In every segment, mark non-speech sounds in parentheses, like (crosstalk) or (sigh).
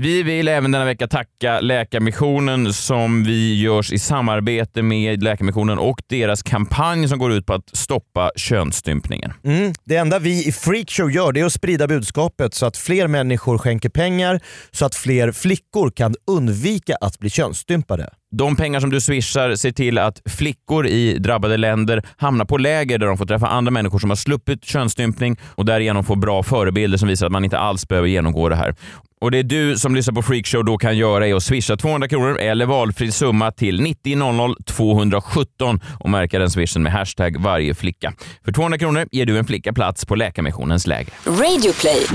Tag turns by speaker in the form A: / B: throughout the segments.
A: Vi vill även denna vecka tacka Läkarmissionen som vi görs i samarbete med Läkarmissionen och deras kampanj som går ut på att stoppa könsstympningen.
B: Mm. Det enda vi i Freakshow gör det är att sprida budskapet så att fler människor skänker pengar så att fler flickor kan undvika att bli könsstympade.
A: De pengar som du swishar ser till att flickor i drabbade länder hamnar på läger där de får träffa andra människor som har sluppit könsstympning och därigenom får bra förebilder som visar att man inte alls behöver genomgå det här. Och Det du som lyssnar på Freakshow då kan göra är att swisha 200 kronor eller valfri summa till 90 217 och märka den swishen med hashtag varje flicka. För 200 kronor ger du en flicka plats på Läkarmissionens läger.
C: Radioplay.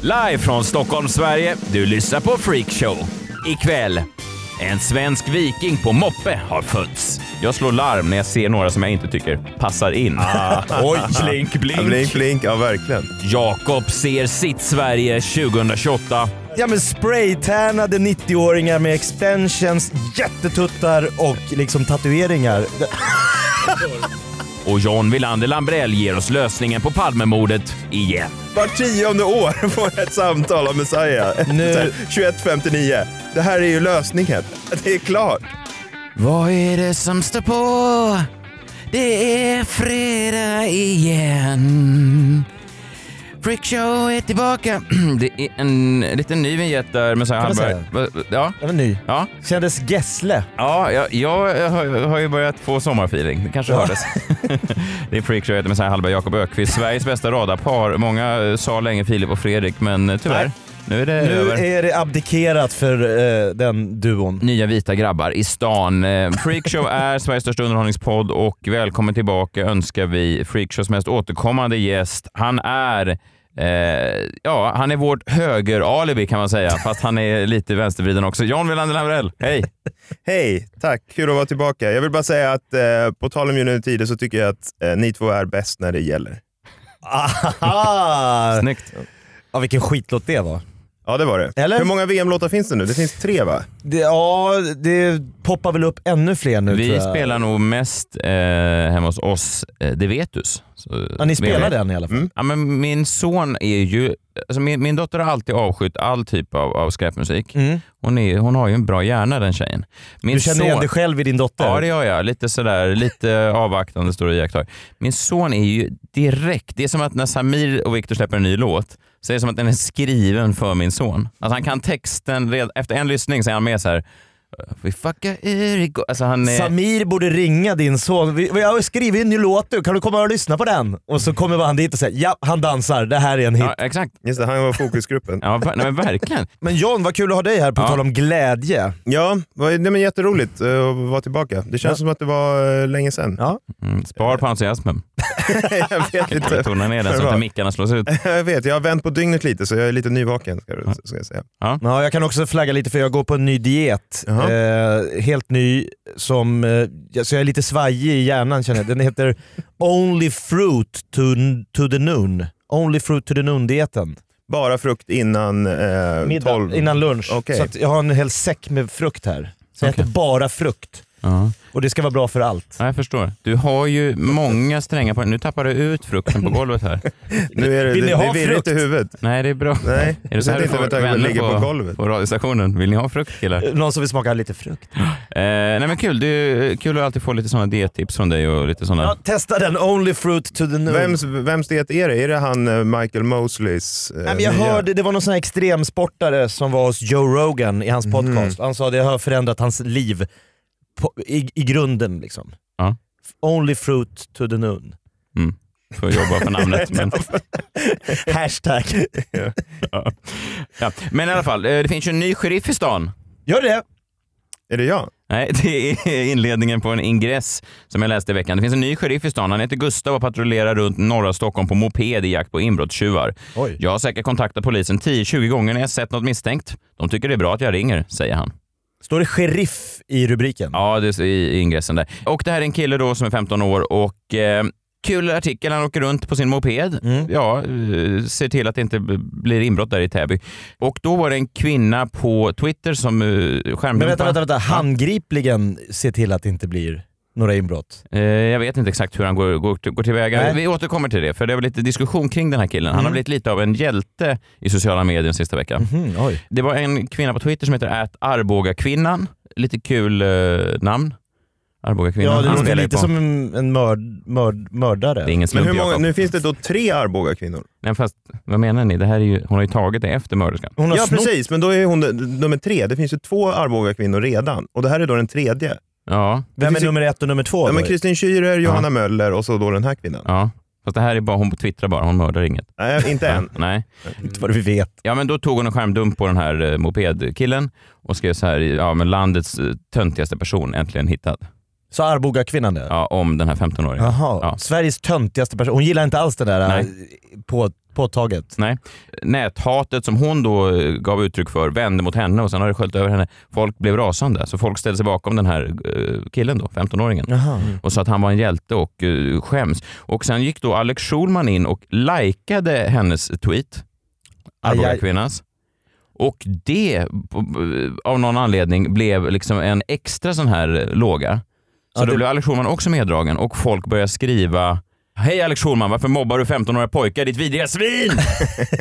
A: Live från Stockholm, Sverige. Du lyssnar på Freakshow. Ikväll. En svensk viking på moppe har fötts. Jag slår larm när jag ser några som jag inte tycker passar in. (laughs)
B: Oj, blink
D: Ah. Ja, blink, blink. Ja, verkligen.
A: Jakob ser sitt Sverige 2028.
B: Ja men spraytärnade 90-åringar med extensions, jättetuttar och liksom tatueringar.
A: Och John Wilander Lambrell ger oss lösningen på Palmemordet igen.
D: Var tionde år (laughs) får jag ett samtal av Messiah.
B: Nu-
D: Så här, 21.59. Det här är ju lösningen. (laughs) Det är klart.
A: Vad är det som står på? Det är fredag igen. Freakshow är tillbaka. (clears throat) Det är en liten ny vignett där med så här
B: Kan man
A: Hallberg. Va- Ja,
B: Den var ny.
A: ja.
B: Kändes Gessle.
A: Ja, jag, jag har- har ju börjat få sommarfeeling. Det kanske hördes. (laughs) det är Freakshow, jag heter Messiah Hallberg, Jakob Ökvist. Sveriges bästa radarpar. Många eh, sa länge Filip och Fredrik, men eh, tyvärr,
B: Nej.
A: nu är det
B: Nu
A: över. Mm.
B: är det abdikerat för eh, den duon.
A: Nya vita grabbar i stan. Eh, Freakshow
B: (laughs)
A: är Sveriges största underhållningspodd och välkommen tillbaka önskar vi Freakshows mest återkommande gäst. Han är Eh, ja, han är vårt höger-alibi kan man säga, fast han är lite vänstervriden också. John Wilander Lamrell, hej!
D: Hej, tack. Kul att vara tillbaka. Jag vill bara säga att eh, på tal om Gyllene Tider så tycker jag att eh, ni två är bäst när det gäller.
B: Aha!
A: Snyggt.
B: Ja, vilken skitlåt det var.
D: Ja, det var det.
B: Eller?
D: Hur många VM-låtar finns det nu? Det finns tre, va?
B: Det, ja, det poppar väl upp ännu fler nu tror
A: Vi
B: jag.
A: spelar nog mest eh, hemma hos oss, eh, det vet du. Så-
B: Ja, ni spelar
A: vet-
B: den i alla fall.
A: Ja, men min son är ju... Alltså min, min dotter har alltid avskytt all typ av, av skräpmusik.
B: Mm.
A: Hon, är, hon har ju en bra hjärna den tjejen. Min
B: Du känner igen dig själv i din dotter?
A: Ja, det gör jag. Lite sådär, lite avvaktande står och iakttar. Min son är ju direkt... Det är som att när Samir och Viktor släpper en ny låt så är det som att den är skriven för min son. Alltså han kan texten, red, efter en lyssning så är han med så här. "Eh, Vi fuckar ur igår. Alltså han är...
B: Samir borde ringa din son. Vi, vi har skrivit en ny låt nu, kan du komma och lyssna på den? Och så kommer han dit och säger ja, han dansar, det här är en hit.
A: Ja, exakt.
D: Just det, han
B: (laughs)
D: var fokusgruppen.
A: Ja, ver- nej, men verkligen.
B: Men John, vad kul att ha dig här på
A: Ja.
B: tal om glädje.
D: Ja, vad- nej, men jätteroligt eh, att vara tillbaka. Det känns
B: Ja.
D: som att det var eh, länge sedan.
B: Ja.
A: Mm, spar på entusiasmen.
D: (laughs) jag
B: (laughs)
D: vet inte.
A: Tona ner den så att
D: Bra.
A: inte mickarna slås ut.
D: Jag vet, jag har vänt på dygnet lite så jag är lite nyvaken. Ska, du- ska jag säga.
B: Ja, jag kan också flagga lite för jag går på en ny diet.
D: Jaha.
B: Eh, helt ny, som, eh, jag- så jag är lite svajig i hjärnan känner jag. Den heter Only Fruit to, to the Noon. Only Fruit to the Noon-dieten.
D: Bara frukt innan eh,
B: Middag,
D: 12.
B: Innan lunch.
D: Okej.
B: Så att jag har en hel säck med frukt här. Så jag äter bara frukt.
A: Ja.
B: Och det ska vara bra för allt.
A: Ja, jag förstår. Du har ju många strängar på Nu tappar du ut frukten på golvet här.
D: Nu är det,
B: Vill ni
D: det, det
B: ha
D: är virrigt i
B: frukt?
D: huvudet.
A: Nej, det är bra.
D: Nej,
A: Är det så här du
D: inte
A: får
D: med tanke på att
A: vänner
D: ligga på golvet.
A: på radiostationen? Vill ni ha frukt killar? Eh,
B: Någon som vill smaka lite frukt?
A: nej men kul. Det är kul att alltid få lite sådana diettips från dig och lite sådana.
B: Ja, testa den, Only Fruit to the Noon.
D: Vems, vems diet är det? Är det han eh, Michael Mosleys eh,
B: Nej, men jag
D: nya?
B: hörde, det var någon sån här extremsportare som var hos Joe Rogan i hans podcast. Han sa att det har förändrat hans liv på, i, i grunden. Liksom.
A: Ja.
B: Only fruit to the noon.
A: Mm. Får jobba på namnet. Men,
B: Hashtag.
A: ja. men i alla fall, eh, det finns ju en ny sheriff i stan.
B: Gör det!
D: Är det jag?
A: Nej, (laughs) det är inledningen på en ingress som jag läste i veckan. Det finns en ny sheriff i stan. Han heter Gustav och patrullerar runt norra Stockholm på moped i jakt på inbrottstjuvar.
B: Oj.
A: Jag har säkert kontaktat polisen 10-20 gånger när jag sett något misstänkt. De tycker det är bra att jag ringer, säger han.
B: Står det sheriff i rubriken?
A: Ja, det är i i ingressen där. Och det här är en kille då som är 15 år och eh, kul artikel. Han åker runt på sin moped.
B: Mm.
A: Ja, eh, ser till att det inte b- blir inbrott där i Täby. Och då var det en kvinna på Twitter som eh, skärmdumpade.
B: Men vänta, vänta, vänta. handgripligen se till att det inte blir... några inbrott.
A: Eh, Jag vet inte exakt hur han går, går, går tillväga.
B: Nej.
A: Vi återkommer till det, för det har blivit lite diskussion kring den här killen. Han har
B: Mm.
A: blivit lite av en hjälte i sociala medier den sista veckan.
B: Mhm, oj.
A: Det var en kvinna på Twitter som heter Arbogakvinnan. Lite kul eh, namn. Arbogakvinnan.
B: Ja, det
A: Han
B: låter
A: spelar ju
B: lite
A: på-
B: som en, en mörd, mörd, mördare.
A: Det är ingen
D: Men
A: slump,
D: hur många,
A: Jakob.
D: nu finns det då tre Arboga kvinnor.
A: Nej, fast vad menar ni? Det här är ju, hon har ju tagit det efter mörderskan.
B: Hon har
D: Ja,
B: snott
D: precis. Men då är hon den- nummer tre. Det finns ju två Arboga kvinnor redan och det här är då den tredje.
A: Ja,
D: Det
B: Vem är
D: finns ju-
B: nummer ett och nummer två?
D: Ja,
B: då?
D: men Kristin Schürer, Johanna Möller och så då den här kvinnan.
A: ja. Fast det här är bara, hon twittrar bara, hon mördar inget.
D: Nej, inte än.
A: Nej.
B: Inte vad vi vet.
A: Ja, men då tog hon en skärmdump på den här eh, mopedkillen och skrev så här, ja men landets eh, töntigaste person äntligen hittad.
B: Så Arboga kvinnan det?
A: Ja, om den här 15-åringen.
B: Jaha.
A: Ja.
B: Sveriges töntigaste person. Hon gillar inte alls det där eh, på, påtaget.
A: Nej. Näthatet som hon då eh, gav uttryck för vände mot henne och sen har det sköljt över henne. Folk blev rasande, så folk ställde sig bakom den här eh, killen då, 15-åringen.
B: Jaha.
A: och sa att han var en hjälte och eh, skäms. Och sen gick då Alex Schulman in och likade hennes tweet,
B: Aj, aj.
A: Arbogakvinnans. Och det, b- b- av någon anledning, blev liksom en extra sån här eh, låga. Så
B: Ja,
A: då
B: det-
A: blev Alex Schulman också meddragen och folk började skriva Hej Alex Schulman, varför mobbar du 15-åriga pojkar ditt vidriga
B: (laughs)
A: svin?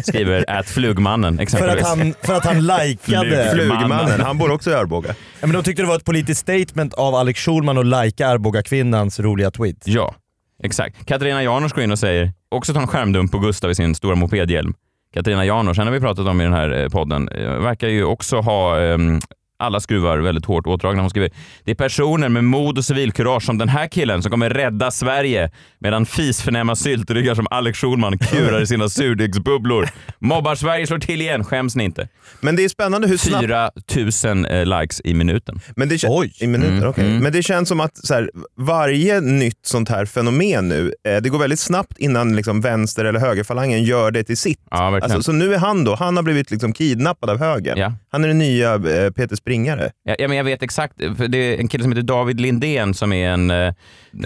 A: Skriver att flugmannen
B: För
A: exempelvis.
B: att han,
A: (laughs)
B: för att han likade.
A: Flug.
D: Flugmannen,
A: Mannen.
D: han bor också i Arboga.
B: Ja, men de tyckte det var ett politiskt statement av Alex Schulman att lajka Arboga kvinnans roliga tweet.
A: Ja, exakt. Katarina Janouch går in och säger, också tar en skärmdump på Gustav i sin stora mopedhjälm. Katarina Janouch, henne har vi pratat om i den här eh, podden, eh, verkar ju också ha ehm, alla skruvar väldigt hårt åtdragna. Hon skriver “Det är personer med mod och civilkurage som den här killen som kommer rädda Sverige medan fisförnäma syltryggar som Alex Schulman kurar i sina surdegsbubblor. Mobbar Sverige slår till igen, skäms ni inte?”
D: Men det är spännande hur snabbt
A: 4000 eh, likes i minuten.
D: Men det, kän-
B: Oj.
D: I minuter,
A: Mm,
D: okej.
A: mm.
D: Men det känns som att så här, varje nytt sånt här fenomen nu, eh, det går väldigt snabbt innan liksom, vänster eller högerfalangen gör det till sitt.
A: Ja, verkligen.
D: Alltså, så nu är han då, han har blivit liksom kidnappad av högern.
A: Ja.
D: Han är den nya eh, Peter Springare.
A: Ja, ja, men jag vet exakt. För det är en kille som heter David Lindén som är en... eh,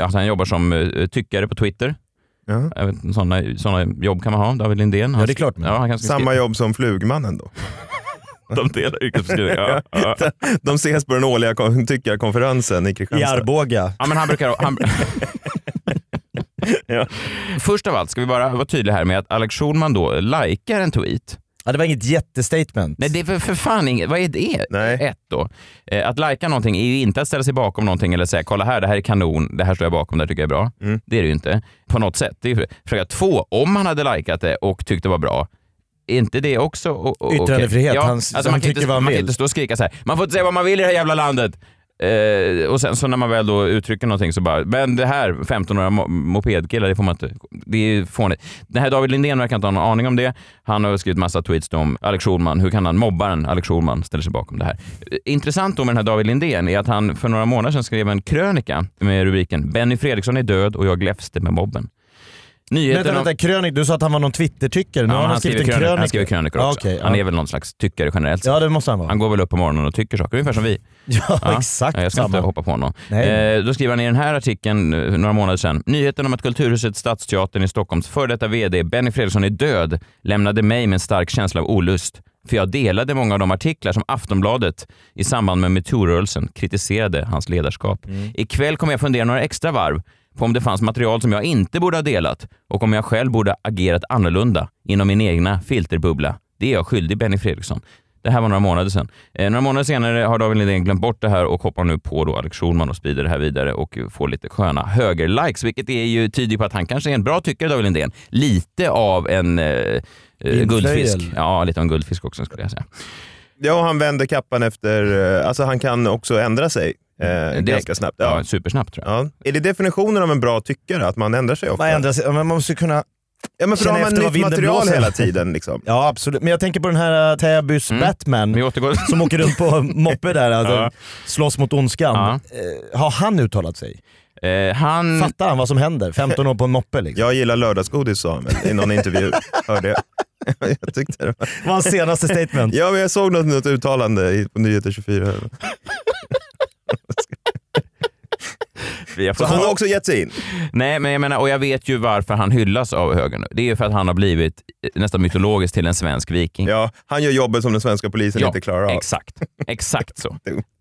A: Alltså han jobbar som eh, tyckare på Twitter.
D: Ja.
A: Jag vet inte, Såna, såna jobb kan man ha. David Lindén. Han,
B: Ja, det är klart.
A: Ja, han kan
D: Samma jobb som Flugmannen då.
A: De delar yrkesbeskrivning. Ja, ja.
B: (laughs)
D: De ses på den årliga kon- tyckarkonferensen i
B: I
D: Kristianstad.
B: Arboga.
A: ja, men han brukar... Han...
D: Ja.
A: Först av allt ska vi bara vara tydliga här med att Alex Schulman då likar en tweet.
B: Ja, det var inget jättestatement.
A: Nej, det är för, för fan inget. Vad är det?
D: Nej.
A: Ett då. Eh, Att lajka någonting är ju inte att ställa sig bakom någonting eller säga kolla här, det här är kanon, det här står jag bakom, det här tycker jag är bra.
D: Mm.
A: Det är det ju inte på något sätt. Det är ju fråga två, om han hade likat det och tyckt det var bra, är inte det också o- o- okej? alltså
B: Yttrandefrihet, han- han
A: man kan
B: tycker
A: inte,
B: vad han
A: Man kan
B: vill.
A: inte stå och skrika så här, man får inte säga vad man vill i det här jävla landet. Eh, och sen så när man väl då uttrycker någonting så bara, men det här 15-åriga mo- mopedkillar, det får man inte, det är ju fånigt. Den här David Lindén verkar inte ha någon aning om det. Han har skrivit massa tweets om Alex Schulman, hur kan han, mobbaren Alex Schulman ställer sig bakom det här. Eh, Intressant då med den här David Lindén är att han för några månader sedan skrev en krönika med rubriken “Benny Fredriksson är död och jag gläfste med mobben”. Nyheten
B: Vänta,
A: om-
B: vänta, krönik. Du sa att han var någon Twitter-tyckare. Nu
A: Ja,
B: har
A: men
B: han,
A: han,
B: skrivit en
A: skriver krönikor,
B: krönika.
A: han skriver krönikor
B: Ja,
A: också.
B: okej,
A: han
B: ja.
A: är väl någon slags tyckare generellt sett.
B: Ja, det måste han vara.
A: Han går väl upp på morgonen och tycker saker, ungefär som vi.
B: (laughs) Ja,
A: Ja,
B: exakt
A: Ja, jag ska
B: samma.
A: inte hoppa på honom.
B: Nej.
A: Eh, då skriver han i den här artikeln eh, några månader sedan. Nyheten om att Kulturhuset Stadsteatern i Stockholms före detta VD Benny Fredriksson är död lämnade mig med en stark känsla av olust. För jag delade många av de artiklar som Aftonbladet i samband med metoo-rörelsen kritiserade hans ledarskap.
B: Mm.
A: Ikväll kommer jag fundera några extra varv på om det fanns material som jag inte borde ha delat och om jag själv borde ha agerat annorlunda inom min egna filterbubbla. Det är jag skyldig Benny Fredriksson. Det här var några månader sedan. Eh, några månader senare har David Lindén glömt bort det här och hoppar nu på då Alex Schulman och sprider det här vidare och får lite sköna högerlikes, vilket är ju tyder på att han kanske är en bra tyckare, David Lindén. Lite av en eh, eh,
B: Inflöjel.
A: guldfisk. Ja, lite av en guldfisk också skulle jag säga.
D: Ja, och han vänder kappan efter... eh, Alltså han kan också ändra sig eh,
A: Direkt.
D: ganska snabbt.
A: Mm, Ja.
D: Ja.
A: supersnabbt tror jag.
D: Ja. Är det definitionen av en bra tyckare, att man ändrar sig ofta?
B: Man, ändrar sig. Ja, men man måste kunna...
D: Ja, men för då har
B: Känna
D: man
B: efter vad
D: nytt
B: vinden
D: material
B: blåser.
D: hela tiden. Liksom.
B: Ja, absolut. Men jag tänker på den här äh, Täbys
D: Mm.
B: Batman
A: Vi
D: (laughs)
A: återgår.
B: (laughs) som åker runt på moppe där. Alltså,
A: Ja.
B: Slåss mot ondskan.
A: Ja.
B: Eh, har han uttalat sig?
A: Eh, han...
D: Mm.
B: Fattar han vad som händer? 15 år på en moppe liksom.
D: (laughs) Jag gillar lördagsgodis sa han väl i någon intervju. Hörde jag. jag (laughs) tyckte det var...
B: Vad var hans senaste statement?
D: Ja, men jag såg något, något uttalande i- på Nyheter 24.
A: Vi har
D: Så
A: fått-
D: han har också gett sig in.
A: Nej, men jag menar, och jag vet ju varför han hyllas av högern. nu. Det är ju för att han har blivit eh, nästan mytologiskt till en svensk viking.
D: Ja, han gör jobbet som den svenska polisen inte klarar av. (laughs)
A: Exakt. Exakt så.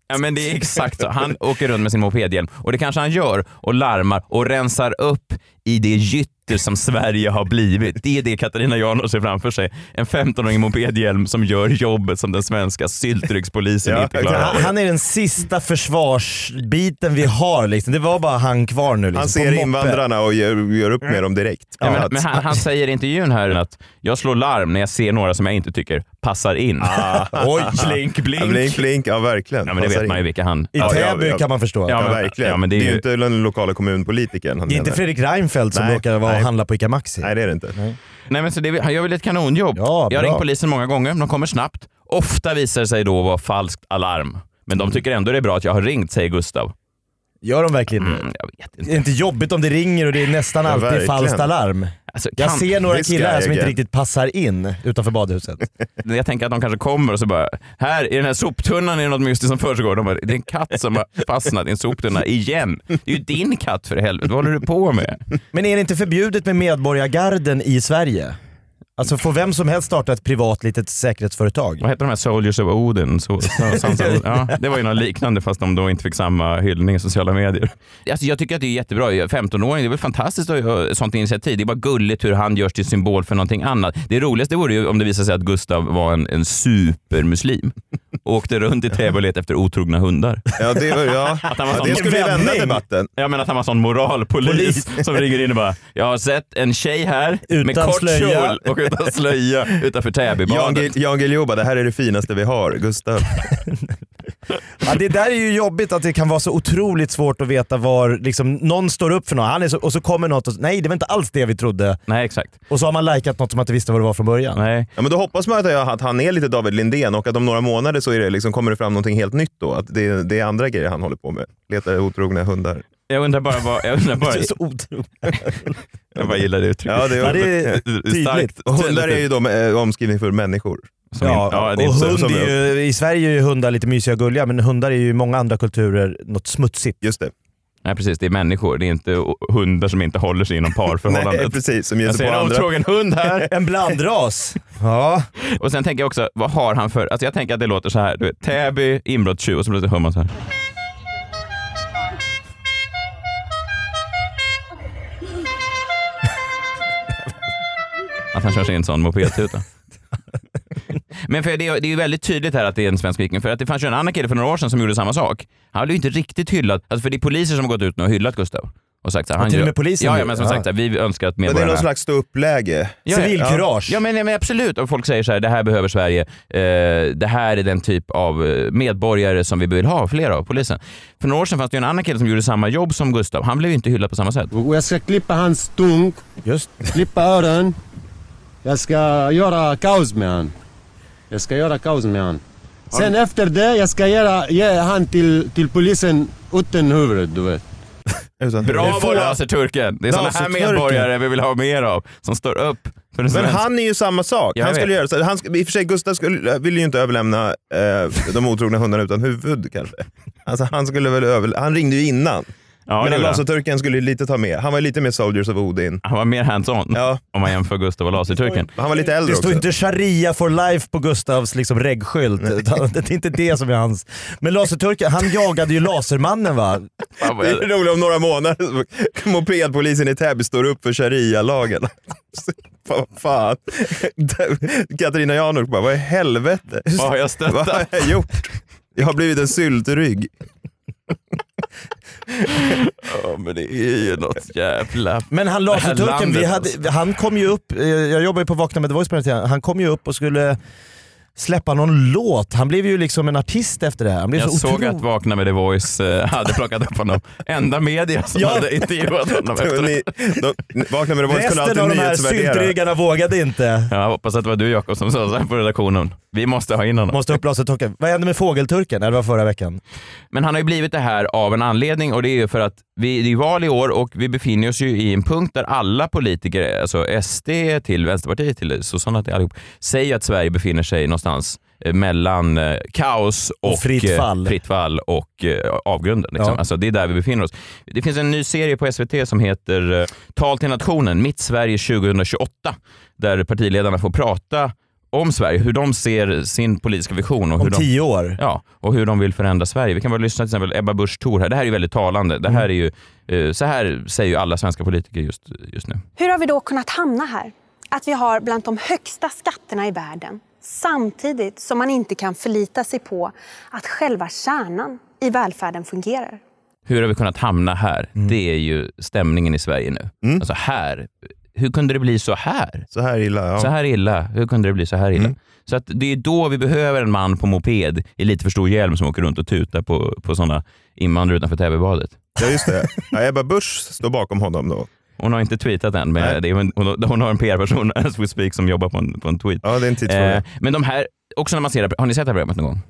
A: Ja, men det är exakt så. Han åker runt med sin mopedhjälm och det kanske han gör och larmar och rensar upp i det gytter som Sverige har blivit. Det är det Katarina Janouch ser framför sig. En 15-årig mopedhjälm som gör jobbet som den svenska syltryckspolisen
D: (laughs) Ja,
A: inte klarar
B: Han,
A: av.
B: han är den sista försvarsbiten vi har. Liksom. Det var bara han kvar nu. Liksom,
D: Han
B: på
D: ser
B: moppe.
D: invandrarna och gör, gör upp med dem direkt.
A: Ja,
D: Att-
A: men, men han, han säger i intervjun här att jag slår larm när jag ser några som jag inte tycker passar in. (laughs)
B: Oj,
A: blink, blink.
D: Ah. Ja, blink, blink. Ja, verkligen.
A: Ja, men det
D: Passar
A: vet man ju
D: in.
A: vilka han...
B: I
D: Ja, ja,
B: Täby
D: ja.
B: kan man förstå.
A: Ja,
D: Ja,
A: men-
D: verkligen.
A: ja, men
D: det, är ju... inte den lokala kommunpolitikern han
B: Det är inte
D: menar.
B: Fredrik Reinfeldt som
D: Nej,
B: råkar vara och
D: nej.
B: handla på ICA Maxi.
D: Nej, det är det inte.
A: Nej, men så det, han gör väl ett kanonjobb.
B: Ja,
A: jag har
B: bra.
A: ringt polisen många gånger, de kommer snabbt. Ofta visar det sig då vara falskt alarm. Men
D: Mm.
A: de tycker ändå det är bra att jag har ringt, säger Gustav.
B: Gör de verkligen det?
A: Mm, jag vet
B: Det är
A: inte.
B: inte jobbigt om det ringer och det är nästan
D: Ja,
B: alltid
D: verkligen.
B: falskt alarm.
A: Alltså,
B: Jag
A: kan,
B: ser några
D: this
B: killar här
D: guy
B: som inte
D: again.
B: riktigt passar in utanför badhuset.
A: jag tänker att de kanske kommer och så bara, här i den här soptunnan är det något mystiskt som försiggår. De bara, det är en katt som har fastnat i en soptunna igen. Det är ju din katt för helvete, vad håller du på med?
B: Men är det inte förbjudet med medborgargarden i Sverige? Alltså får vem som helst starta ett privat litet säkerhetsföretag?
A: Vad heter de här Soldiers of Odin? Så, så, så, så, (laughs) ja, det var ju något liknande fast de då inte fick samma hyllning i sociala medier. Alltså, jag tycker att det är jättebra. 15-åring, det är väl fantastiskt att göra ett sånt initiativ. Det är bara gulligt hur han görs till symbol för någonting annat. Det roligaste vore ju om det visade sig att Gustav var en, en (laughs) supermuslim och åkte runt i Täby och letade efter otrogna hundar.
D: Ja, det, ja.
A: han var
D: ja,
A: sån-
D: det skulle ju vända
B: Vändning.
D: debatten.
A: Jag menar att han var sån moralpolis (laughs)
B: Polis.
A: som ringer in och bara “Jag har sett en tjej här med
B: Utan
A: kort
B: slöja."
A: kjol och utan slöja utanför
D: Jan
A: Täbybadet”.
D: Guil- Jan Guillou bara, det här är det finaste vi har, Gustav.
B: Ja, det där är ju jobbigt att det kan vara så otroligt svårt att veta var liksom, någon står upp för någon han är så, och så kommer något och så- nej det var inte alls det vi trodde.
A: Nej, exakt.
B: Och så har man likat något som man inte visste vad det var från början.
A: Nej.
D: Ja, men då hoppas man att, jag, att han är lite David Lindén och att om några månader så är det liksom, kommer det fram någonting helt nytt då. Att det, det är andra grejer han håller på med. Letar otrogna hundar.
A: Jag undrar bara vad... Jag undrar bara...
B: Det är (laughs) så otroligt.
A: Jag bara gillar det uttrycket.
D: Ja, det
B: Ja,
D: är,
B: det är tydligt.
A: Starkt.
D: och hundar är ju då med, eh, omskrivning för människor.
A: Som
B: Ja,
A: in- ja, det är
B: och
A: inte-
B: hund
D: som
B: är ju, I Sverige är ju hundar lite mysiga och gulliga men hundar är ju i många andra kulturer något smutsigt.
D: Just det.
A: Nej, precis. Det är människor. Det är inte o- hundar som inte håller sig
B: (laughs)
A: inom
D: Nej, eh,
A: parförhållandet.
D: precis. Som ger
A: jag
D: sig på
A: ser en
D: andra.
A: otrogen hund här.
B: En blandras. ja.
A: (laughs) Och sen tänker jag också, vad har han för... Alltså jag tänker att det låter så här. Du vet, Täby, inbrottstjuv och så plötsligt hör man så
B: (laughs)
A: här. Att han kör sig i en sån
B: (laughs)
A: mopedtuta. Men för det, är- det är ju väldigt tydligt här att det är en svensk viking. För att det fanns ju en annan kille för några år sedan som gjorde samma sak. Han blev ju inte riktigt hyllad. Alltså för det är poliser som har gått ut nu och hyllat Gustav. Och sagt så här, han
B: till och
A: gör-
B: med polisen
A: Ja,
B: nu.
A: ja men som
B: Ja.
A: sagt så här, vi önskar att
D: Men det är någon
A: medborgarna...
D: slags ståuppläge.
A: Ja, ja.
B: Civilkurage.
A: Ja men, ja, men absolut. Om folk säger så här, det här behöver Sverige. Eh, det här är den typ av eh, medborgare som vi vill ha fler av, polisen. För några år sedan fanns det ju en annan kille som gjorde samma jobb som Gustav. Han blev ju inte hyllad på samma sätt.
C: Och jag ska klippa hans tung,
B: Just
C: klippa öron. Jag ska göra kaos med han. Jag ska göra kaos med han. Sen efter det, jag ska göra, ge han till, till polisen utan huvudet, du vet.
D: Utan
A: Bra
D: huvud.
A: var Laserturken! alltså, Det är sådana här
D: Laserturken.
A: medborgare vi vill ha mer av, som står upp för den
D: Men
A: svenska.
D: han är ju samma sak.
A: Jag
D: han
A: vet.
D: skulle göra så. Han, sk- I och för sig, Gustav skulle, ville ju inte överlämna eh, de otrogna hundarna utan huvud kanske. Alltså, han, skulle väl över, han ringde ju innan.
A: ja, det
D: Medan
A: gjorde han.
D: laserturken skulle ju lite ta med. Han var ju lite mer Soldiers of Odin.
A: han var mer hands-on
D: Ja,
A: om man jämför Gustav och Laserturken.
D: han var lite äldre
B: Det står
D: också.
B: inte sharia for life på Gustavs liksom reggskylt. utan Det är inte det som är hans. Men Laserturken, han jagade ju Lasermannen va?
A: Fan, vad
D: Det (laughs)
A: jag-
D: är roligt om några månader så- mopedpolisen i Täby står upp för sharia-lagen. (laughs) Fan, vad fan. (laughs) Katarina Janouch bara, vad i helvete?
A: Vad har jag
D: Vad
A: stöttat?
D: har jag gjort? Jag har blivit en syltrygg.
A: Ja, men det är ju något jävla...
B: Men han
A: här
B: Laserturken, vi
A: landet,
B: hade, han kom ju upp, eh, jag jobbar ju på Vakna med The Voice på den här tiden. han kom ju upp och skulle släppa någon låt. Han blev ju liksom en artist efter det här. Han blev
A: Jag
B: så
A: såg
B: otroligt...
A: att Vakna med The Voice eh, hade plockat upp honom. Enda media som
B: Ja.
A: hade intervjuat honom efter det.
D: Ni, de, ni- vakna med det var kunde
B: Resten av
D: alltid
B: de här
D: nyhetsvärdera.
B: syltryggarna vågade inte.
A: Ja, jag hoppas att det var du Jakob som sa så här på redaktionen. Vi måste ha in honom.
B: Måste upp Laserturken. Vad hände med Fågelturken? Nej, det var förra veckan.
A: Men han har ju blivit det här av en anledning och det är ju för att vi, det är ju val i år och vi befinner oss ju i en punkt där alla politiker, alltså SD till Vänsterpartiet till sossarna till allihop, säger att Sverige befinner sig någonstans eh, mellan eh, kaos och,
B: fritt
A: eh,
B: fall.
A: fritt fall och eh, avgrunden. Liksom.
B: Ja.
A: Alltså, det är där vi befinner oss. Det finns en ny serie på SVT som heter eh, Tal till nationen, Mitt Sverige 2028, där partiledarna får prata om Sverige, hur de ser sin politiska vision och hur
B: Om
A: de
B: tio år.
A: Ja, och hur de vill förändra Sverige. Vi kan bara lyssna till exempel Ebba Busch Thor här. Det här är ju väldigt talande. Det
D: Mm.
A: här är ju, eh, så här säger ju alla svenska politiker just, just nu.
E: Hur har vi då kunnat hamna här? Att vi har bland de högsta skatterna i världen samtidigt som man inte kan förlita sig på att själva kärnan i välfärden fungerar.
A: Hur har vi kunnat hamna här?
D: Mm.
A: Det är ju stämningen i Sverige nu. Alltså här. Hur kunde det bli så här?
D: Så här illa, ja. Mm.
A: Så här illa. Hur kunde det bli så här illa? Så att det är då vi behöver en man på moped i lite för stor hjälm som åker runt och tutar på, på sådana invandrare utanför Täbybadet.
D: Ja, just det. Ja, Ebba Busch står bakom honom då.
A: Hon har inte tweetat än, men
D: Nej.
A: det är, hon, hon har en PR-person, (laughs) as we speak, som jobbar på en, på en tweet.
D: Ja, det är en tidsfråga.
A: Eh, men de här, också när man ser det, har ni sett det här programmet någon gång?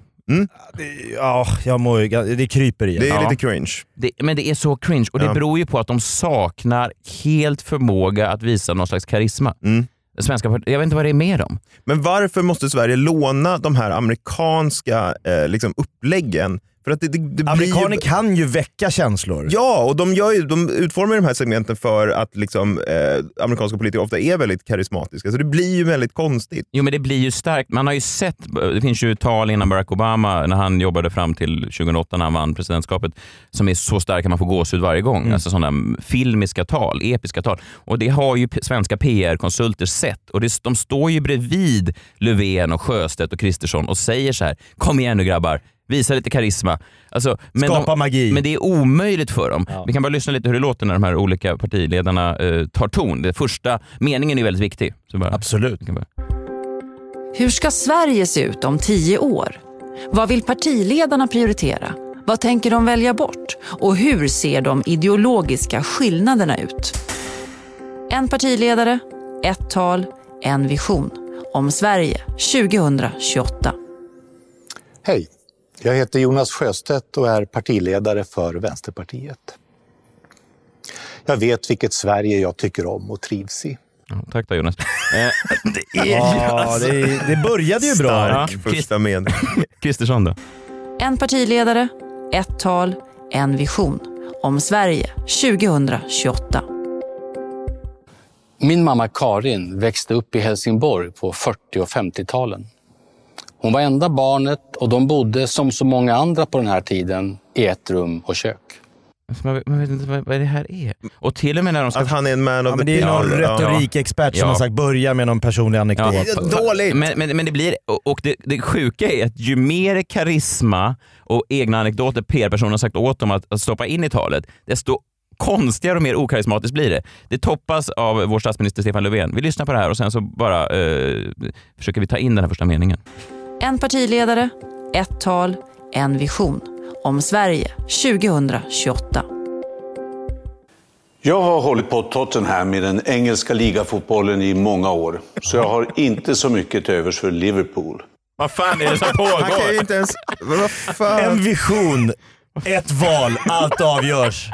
B: Ja, jag mår ju, gan- det kryper i en.
D: det är
A: ja.
D: lite cringe.
A: Det, men det är så cringe och det
D: Ja.
A: beror ju på att de saknar helt förmåga att visa någon slags karisma.
D: Mm.
A: Svenska, jag vet inte vad det är med dem.
D: Men varför måste Sverige låna de här amerikanska eh, liksom uppläggen? För att det, det, det
B: Amerikaner
D: blir...
B: kan ju väcka känslor.
D: Ja, och de, gör ju, de utformar ju de här segmenten för att liksom, eh, amerikanska politiker ofta är väldigt karismatiska. Så det blir ju väldigt konstigt.
A: Jo men det blir ju starkt. Man har ju sett, det finns ju tal innan Barack Obama, när han jobbade fram till 2008 när han vann presidentskapet, som är så starka man får gåshud varje gång.
B: Mm.
A: Alltså sådana filmiska tal, episka tal. Och det har ju p- svenska PR-konsulter sett och det, de står ju bredvid Löfven och Sjöstedt och Kristersson och säger så här, kom igen nu grabbar, visa lite karisma. Alltså, men
B: Skapa
A: de,
B: magi.
A: Men det är omöjligt för dem. Vi kan bara lyssna lite hur det låter när de här olika partiledarna eh, tar ton. Den första meningen är väldigt viktig. Så bara,
B: Absolut.
A: vi kan börja.
F: Hur ska Sverige se ut om tio år? Vad vill partiledarna prioritera? Vad tänker de välja bort? Och hur ser de ideologiska skillnaderna ut? En partiledare, ett tal, en vision. Om Sverige 2028.
G: Hej, jag heter Jonas Sjöstedt och är partiledare för Vänsterpartiet. Jag vet vilket Sverige jag tycker om och trivs i.
A: Ja, Tack då
D: (laughs)
A: Jonas. Eh, det
B: Ja, det, det började ju bra.
A: Ja,
D: Stark första med.
A: Kristersson då?
F: En partiledare, ett tal, en vision. Om Sverige 2028.
H: Min mamma Karin växte upp i Helsingborg på 40 och 50-talen. Hon var enda barnet och de bodde, som så många andra på den här tiden, i ett rum och kök.
A: Alltså, Man, man vet inte vad, vad det här är. Och till och med när de ska...
D: Att han är en man of
B: Ja, men
D: the
B: det är någon
D: people. Ja.
B: retorikexpert som
A: Ja.
B: har sagt börja med någon personlig anekdot.
A: (laughs) Ja.
D: Dåligt!
A: Men, men, men det blir... och- Och det, det sjuka är att ju mer karisma och egna anekdoter PR-personen har sagt åt dem att, att stoppa in i talet, desto konstigare och mer okarismatiskt blir det. Det toppas av vår statsminister Stefan Löfven. Vi lyssnar på det här och sen så bara eh, försöker vi ta in den här första meningen.
F: En partiledare, ett tal, en vision. Om Sverige 2028.
I: Jag har hållit på Tottenham i den engelska ligafotbollen i många år, så jag har inte så mycket till övers för Liverpool.
A: Vad fan är det som pågår?
D: Han kan ju inte ens... Vad
B: (laughs) En
D: fan?
B: vision, ett val, allt avgörs.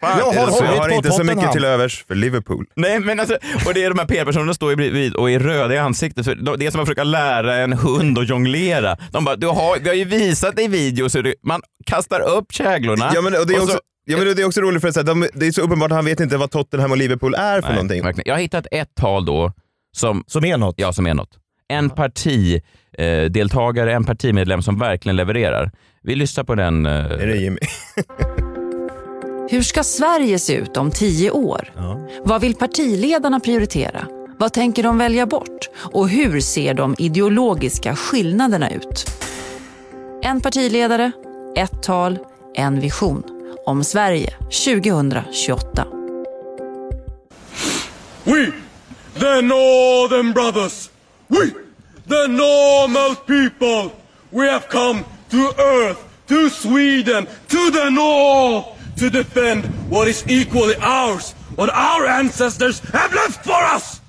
D: fan
B: Jag har
D: är det så?
B: hållit
D: jag har
B: på
D: inte så mycket
B: Tottenham.
D: till övers för Liverpool.
A: Nej, men alltså, och det är de här PR-personerna som står ju bredvid och är röda i ansiktet. För de- det är som att försöka lära en hund att jonglera. De bara, du har, vi har ju visat dig videos hur du, man kastar upp käglorna.
D: Ja, men, och det, är
A: och så-
D: också, ja, men det är också roligt för att så här, de, det är så uppenbart att han vet inte vad Tottenham och Liverpool är för
A: Nej,
D: någonting.
A: verkligen. Jag har hittat ett tal då som,
B: Som är något.
A: ja, som är något. En partideltagare, en partimedlem som verkligen levererar. Vi lyssnar på den. eh,
D: Är det Jimmy?
F: Hur ska Sverige se ut om tio år? Vad vill partiledarna prioritera? Vad tänker de välja bort? Och hur ser de ideologiska skillnaderna ut? En partiledare, ett tal, en vision. Om Sverige 2028.
J: We, the Northern Brothers, we, the normal people, we have come to Earth, to Sweden, to the North, to defend what is equally ours, what our ancestors have left for us!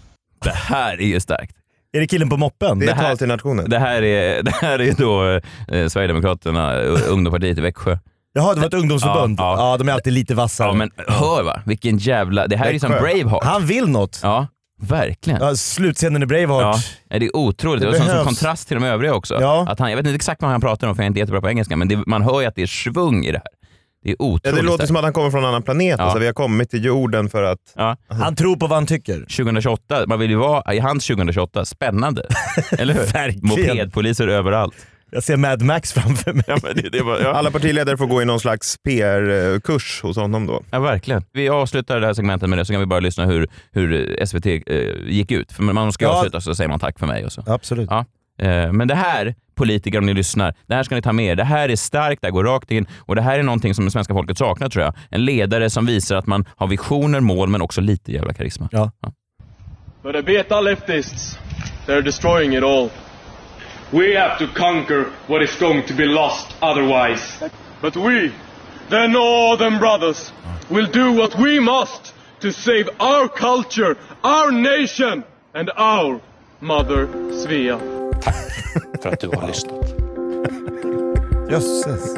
A: Det här är ju starkt.
B: Är det killen på moppen?
D: Det är ett
A: här-
D: tal till nationen.
A: Det här är, det här är då eh, Sverigedemokraterna, ungdomspartiet i Växjö.
B: Jaha, det var ett ungdomsförbund?
A: Ja,
B: Ja,
A: ja.
B: de är alltid lite vassare.
A: Ja, men hör va, vilken jävla... Det här är ju som
D: Växjö.
A: Braveheart.
B: Han vill något. Ja.
A: Ja, verkligen.
B: slutscenen i Braveheart.
A: Ja, det är otroligt.
B: Det
A: Det och sen som
B: behövs.
A: kontrast till de övriga också.
B: Ja.
A: Att han, jag vet inte exakt vad han pratar om för jag är inte jättebra på engelska, men det, man hör ju att det är svung i det här. Det är otroligt
D: Ja, det låter
A: starkt.
D: som att han kommer från en annan planet.
A: Ja.
D: Alltså, vi har kommit till jorden för att...
A: ja.
B: Han tror på vad han tycker.
A: 2028, man vill ju vara i hans 2028. Spännande. Eller hur? Mopedpoliser överallt.
B: Jag ser Mad Max framför mig.
A: Ja, men det, det var, ja.
D: Alla partiledare får gå i någon slags PR-kurs hos honom då.
A: Ja, verkligen. Vi avslutar det här segmentet med det, så kan vi bara lyssna hur, hur SVT eh, gick ut. För man ska ju
B: Ja.
A: avsluta så säger man tack för mig och så.
B: Absolut.
A: Ja. Eh, men det här, politiker om ni lyssnar, det här ska ni ta med er. Det här är starkt, det här går rakt in och det här är någonting som det svenska folket saknar tror jag. En ledare som visar att man har visioner, mål men också lite jävla karisma.
B: Ja.
J: But the beta leftists, they're destroying it all. We have to conquer what is going to be lost otherwise. But we, the Northern Brothers, will do what we must to save our culture, our nation, and our mother Svea.
H: för att du har lyssnat.
B: Jösses.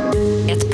K: Ett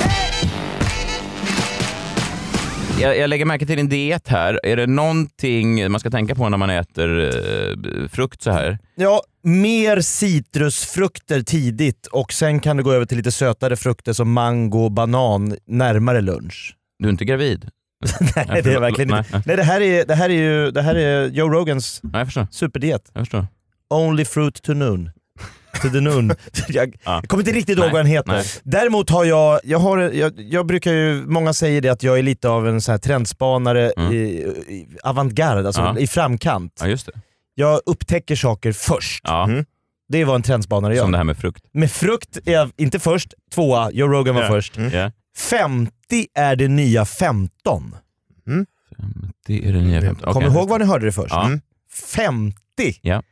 A: Jag, jag lägger märke till din diet här. Är det någonting man ska tänka på när man äter eh, frukt så här?
B: Ja, mer citrusfrukter tidigt och sen kan du gå över till lite sötare frukter som mango och banan närmare lunch. (laughs)
A: Du är inte gravid?
B: Nej, det är verkligen
A: Nej,
B: inte. Nej, det här är, det här är ju det här är Joe Rogans
A: Nej, jag förstår.
B: superdiet.
A: Jag förstår.
B: Only fruit to noon. To the noon. (laughs) jag,
A: Ja.
B: jag kommer inte riktigt ihåg
A: Nej,
B: vad den heter.
A: nej.
B: Däremot har jag, jag, har, jag, jag brukar ju, många säger det att jag är lite av en så här trendspanare
A: Mm.
B: i, i avantgarde, alltså
A: Ja.
B: i framkant.
A: Ja, just det.
B: Jag upptäcker saker först.
A: Ja,
D: Mm.
B: Det är vad en trendspanare gör.
A: Som det här med frukt.
B: Med frukt är jag inte först, tvåa, Joe Rogan var
D: Ja.
B: först.
D: Mm.
A: Ja.
B: 50 är det nya 15.
A: Det är det nya femte.
B: Kom
A: Okej.
B: ihåg var ni hörde det först.
A: Ja.
B: 50
A: Ja.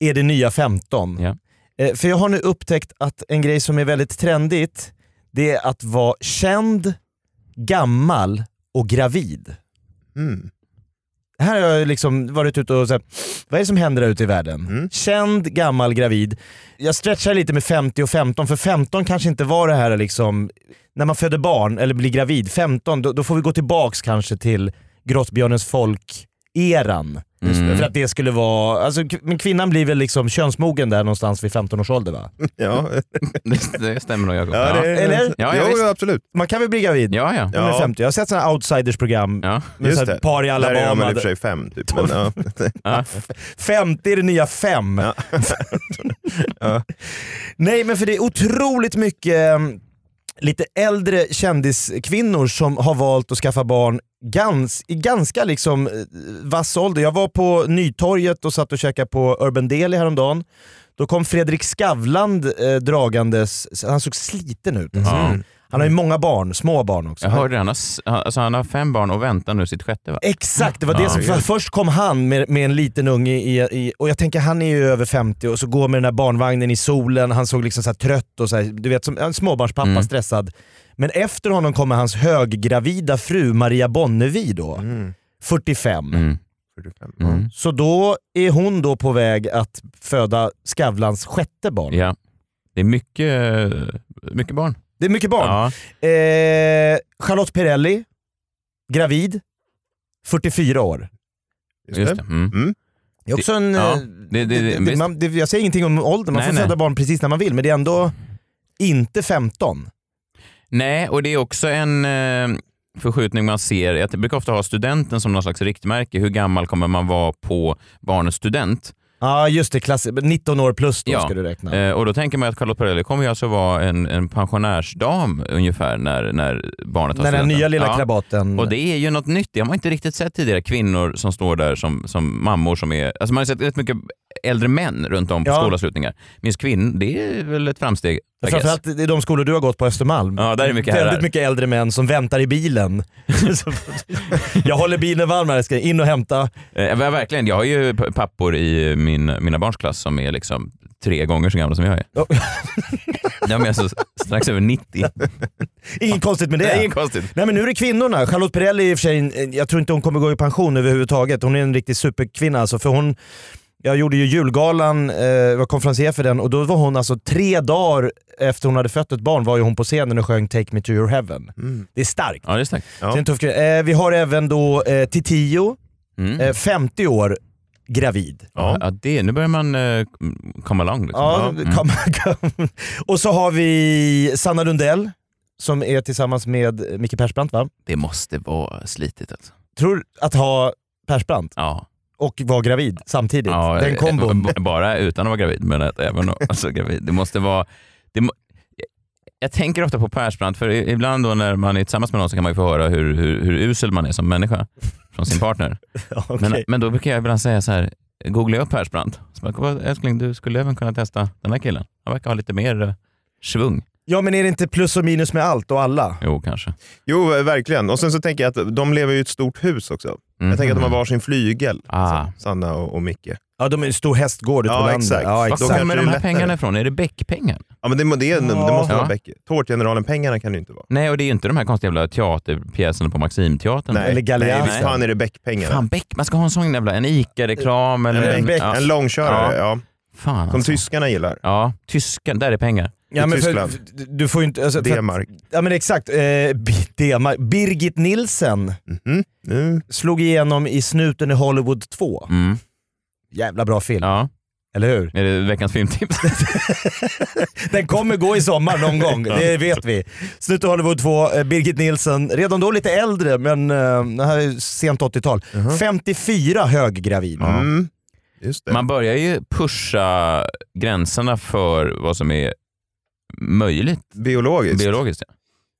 B: är det nya 15.
A: Ja.
B: Eh, För jag har nu upptäckt att en grej som är väldigt trendigt, det är att vara känd, gammal och gravid.
D: Mm.
B: Här har jag liksom varit ute och sagt, vad är det som händer där ute i världen?
D: Mm.
B: Känd, gammal, gravid. Jag stretchar lite med 50 och 15, för 15 kanske inte var det här liksom, när man föder barn eller blir gravid, 15, då, då får vi gå tillbaks kanske till grottbjörnens folk-eran.
A: Mm.
B: För att det skulle vara, alltså, k- men kvinnan blir väl liksom könsmogen där någonstans vid 15 års ålder va?
D: Ja.
A: Det, (laughs) det stämmer nog. Jakob.
D: Ja, det är...
B: Eller?
A: Ja, ja,
D: jo,
A: visst.
D: jo, absolut.
B: Man kan väl bli gravid?
A: Ja, ja.
B: när man är
D: Ja.
B: 50. Jag har sett sådana outsiders-program
A: ja.
B: med
D: Just
B: så här
D: det.
B: par i
D: Där är man i och
B: Alabama.
D: för sig fem, typ. Men,
B: (laughs)
D: ja.
B: 50 är det nya 5.
D: Ja.
B: (laughs) Nej men för det är otroligt mycket ehm, lite äldre kändiskvinnor som har valt att skaffa barn gans, i ganska liksom eh, vass ålder. Jag var på Nytorget och satt och käkade på Urban Deli häromdagen. Då kom Fredrik Skavland eh, dragandes, han såg sliten ut. Alltså.
A: Ja.
B: Han har ju många barn, små barn också.
A: Jag hörde det. Han har, s- alltså, han har fem barn och väntar nu sitt sjätte va?
B: Exakt, det var det
A: Ja,
B: som, för först kom han med, med en liten unge i, i, och jag tänker han är ju över 50 och så går med den här barnvagnen i solen, han såg liksom så här trött och så här, du vet som en småbarnspappa
A: Mm.
B: stressad. Men efter honom kommer hans höggravida fru Maria Bonnevi då,
D: Mm.
B: 45.
A: Mm.
D: 45. Ja.
A: Mm.
B: Så då är hon då på väg att föda Skavlans sjätte barn.
A: Ja. Det är mycket, mycket barn.
B: Det är mycket barn.
A: Ja.
B: Eh, Charlotte Perrelli, gravid, 44 år.
A: Just det. Mm.
D: Mm.
B: Det är också en...
A: Ja,
B: eh,
A: det- det-
B: det- det-
A: visst.
B: man, det, jag säger ingenting om åldern, man
A: Nej,
B: får
A: nej.
B: föda barn precis när man vill, men det är ändå inte 15.
A: Nej, och det är också en eh, förskjutning man ser. Jag brukar ofta ha studenten som någon slags riktmärke. Hur gammal kommer man vara på barnets student?
B: Ja just det, klass... 19 år plus då
A: Ja.
B: ska du räkna.
A: Eh, och då tänker man ju att Charlotte Perrelli kommer ju alltså vara en, en pensionärsdam ungefär när, när barnet tar
B: När den
A: studenten.
B: nya lilla krabaten...
A: Och det är ju något nytt. Det har man inte riktigt sett tidigare. Kvinnor som står där som, som mammor som är... Alltså man har sett rätt mycket äldre män runt om på
B: Ja.
A: skolavslutningar. Minns kvinnor, det är väl ett framsteg? I guess.
B: Framförallt i de skolor du har gått på Östermalm.
A: Ja, där är det mycket herrar.
B: Väldigt mycket äldre män som väntar
A: (laughs)
B: i bilen. (laughs) Så- jag håller bilen varm här, jag ska in och hämta.
A: Eh, ver- verkligen. Jag har ju p- pappor i min, mina barns klass som är liksom tre gånger så gamla som jag är. (laughs) De är alltså strax över
B: (laughs)
A: 90.
B: Inget konstigt med det.
A: Nej, inget konstigt.
B: Nej men nu är det kvinnorna. Charlotte Perrelli i och för sig, en- eh, jag tror inte hon kommer gå i pension överhuvudtaget. Hon är en riktig superkvinna alltså. För hon, jag gjorde ju julgalan, eh, var konferencier för den och då var hon alltså tre dagar efter hon hade fött ett barn var ju hon på scenen och sjöng Take Me To Your Heaven. Det är
A: Mm.
B: starkt.
A: Ja, det är starkt.
B: Det är en tuff grej. eh, vi har även då eh, Titiyo, eh, 50 år, gravid.
A: Mm. Ja. det, nu börjar man eh, komma långt. Liksom.
B: Ja, kom, (laughs) kom. Och så har vi Sanna Lundell som är tillsammans med Micke Persbrandt va?
A: Det måste vara slitigt alltså.
B: Tror att ha Persbrandt
A: Ja.
B: och vara gravid samtidigt.
A: Ja,
B: Den
A: eh,
B: kombon.
A: b- Bara utan att vara gravid, men att även om- alltså, gravid. Det måste vara... Det må, jag tänker ofta på Persbrandt, för i- ibland då när man är tillsammans med någon så kan man ju få höra hur, hur, hur usel man är som människa från sin
D: (laughs)
A: partner. eh, men, men då brukar jag ibland säga så här, googla upp Persbrandt. Så bara, "Vad, älskling, du skulle även kunna testa den här killen. Han verkar ha lite mer eh, svung.
B: Ja men är det inte plus och minus med allt och alla?
A: Jo, kanske.
D: Jo, eh, verkligen. Och sen så tänker jag att de lever ju i ett stort hus också.
A: Mm.
D: Jag tänker att de har varsin flygel,
A: Ah.
D: så, Sanna och, och Micke.
B: Ja de är en stor hästgård ute på
D: Ja,
B: landet.
D: exakt.
B: Ja, exakt.
D: Då kanske det är lättare.
A: ifrån? Är det Beck-pengar?
D: Ja, men det, må- det, är- det
B: Ja.
D: måste
A: Ja.
D: vara Beck. Tårtgeneralen-pengarna kan det ju inte vara.
A: Nej, och det är ju inte de här konstiga jävla teaterpjäserna på Maximteatern.
D: Nej, Nej, visst fan är det Beck-pengarna.
A: Fan, Beck, man ska ha en sån jävla, en ICA-reklam eller
D: En Beck- en långkörare, ja.
A: Fan alltså.
D: Som tyskarna gillar.
A: Ja, tysken, där är pengar.
B: Ja, men för, du får ju inte... Alltså, för att-
D: D-mark.
B: Ja men exakt. Eh, bi- D-mark. Birgit Nilsen
D: Mhm.
B: slog igenom i Snuten i Hollywood 2.
A: Mm.
B: Jävla bra film.
A: Ja.
B: Eller hur?
A: Är det veckans
D: (laughs)
A: filmtips?
B: Den kommer gå i sommar
A: (laughs)
B: någon gång, det vet vi. Snuten i Hollywood 2, eh, Birgit Nilsen, redan då lite äldre men eh, det här är sent 80-tal.
D: Uh-huh.
B: 54 höggravid.
A: Mm.
D: Just
A: Man börjar ju pusha gränserna för vad som är möjligt.
D: Biologiskt.
A: Biologiskt, ja.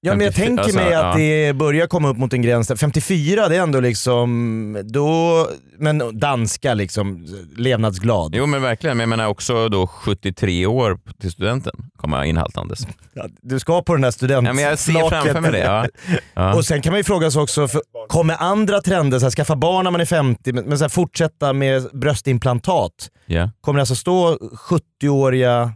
B: Ja men jag
A: 54,
B: tänker
A: alltså,
B: mig att
A: ja.
B: det börjar komma upp mot en gräns där. 54 det är ändå liksom, då, men danska liksom, levnadsglad.
A: Jo men verkligen, men jag menar också då 73 år till studenten komma
D: (laughs)
A: inhaltandes.
B: Ja, Du ska på den här studentflaket.
A: Ja, men jag ser framför mig det. Ja. Ja.
B: Och sen kan man ju fråga sig också, för, kommer andra trender, så här, skaffa barn när man är 50, men men så här, fortsätta med bröstimplantat?
A: Ja.
B: Kommer det alltså stå 70-åriga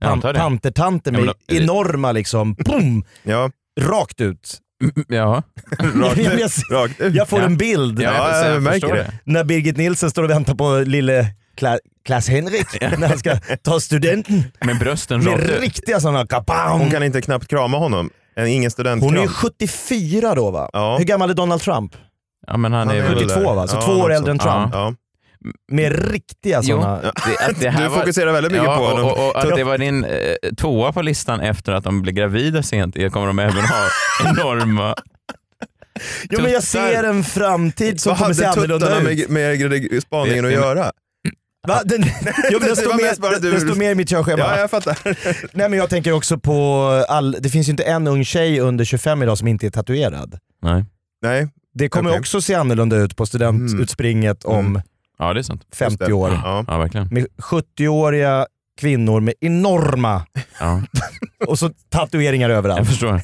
A: Jag
B: pan-
A: antar det.
B: pantertanter
A: Ja,
B: med
A: men då-
B: enorma liksom, boom,
D: ja.
B: rakt ut?
A: Ja.
B: (laughs)
D: Rakt ut,
B: jag,
D: rakt ut.
B: jag får
D: Ja.
B: en bild.
D: Ja, jag Jag märker förstår det. det.
B: När Birgit Nilsson står och väntar på lille Kla- Klas Henrik när han ska ta
D: (laughs)
B: studenten.
A: Med brösten
B: Med riktiga sådana kapow.
D: Hon kan inte knappt krama honom. En, ingen studentkram.
B: Hon är ju 74 då va?
D: Ja.
B: Hur gammal är Donald Trump?
A: Ja, men han,
B: Han är
A: är väl
B: 72, va? Så två år
A: något
B: äldre än
A: sånt.
B: Trump.
D: Ja.
B: Med riktiga sådana...
A: Jo, det- att det här
D: Du fokuserar väldigt mycket
A: ja,
D: på honom.
A: Och, och, och
D: Ja.
A: att det var din eh, tvåa på listan efter att de blev gravida sent det kommer de även ha
D: (laughs)
A: enorma...
B: Jo men jag ser en framtid som
D: Vad
B: kommer se
D: hade tuttarna
B: annorlunda ut.
D: med, med, med spaningen att
A: Det-
D: göra?
B: Va?
D: (laughs)
B: Den, jo, men
D: Det
B: den står
D: var mest bara
B: med,
D: du-
B: den står med i mitt körschema.
D: Ja, jag fattar.
B: Nej men jag tänker också på, all, det finns ju inte en ung tjej under 25 idag som inte är tatuerad.
A: Nej.
D: (laughs) Nej.
B: Det kommer
D: Okej. Mm.
B: också se annorlunda ut på studentutspringet om
A: Ja, det är sant.
B: 50 år.
A: Ja, ja verkligen.
B: Med 70-åriga kvinnor med enorma
A: Ja.
B: och så tatueringar
A: Jag
B: överallt.
A: förstår.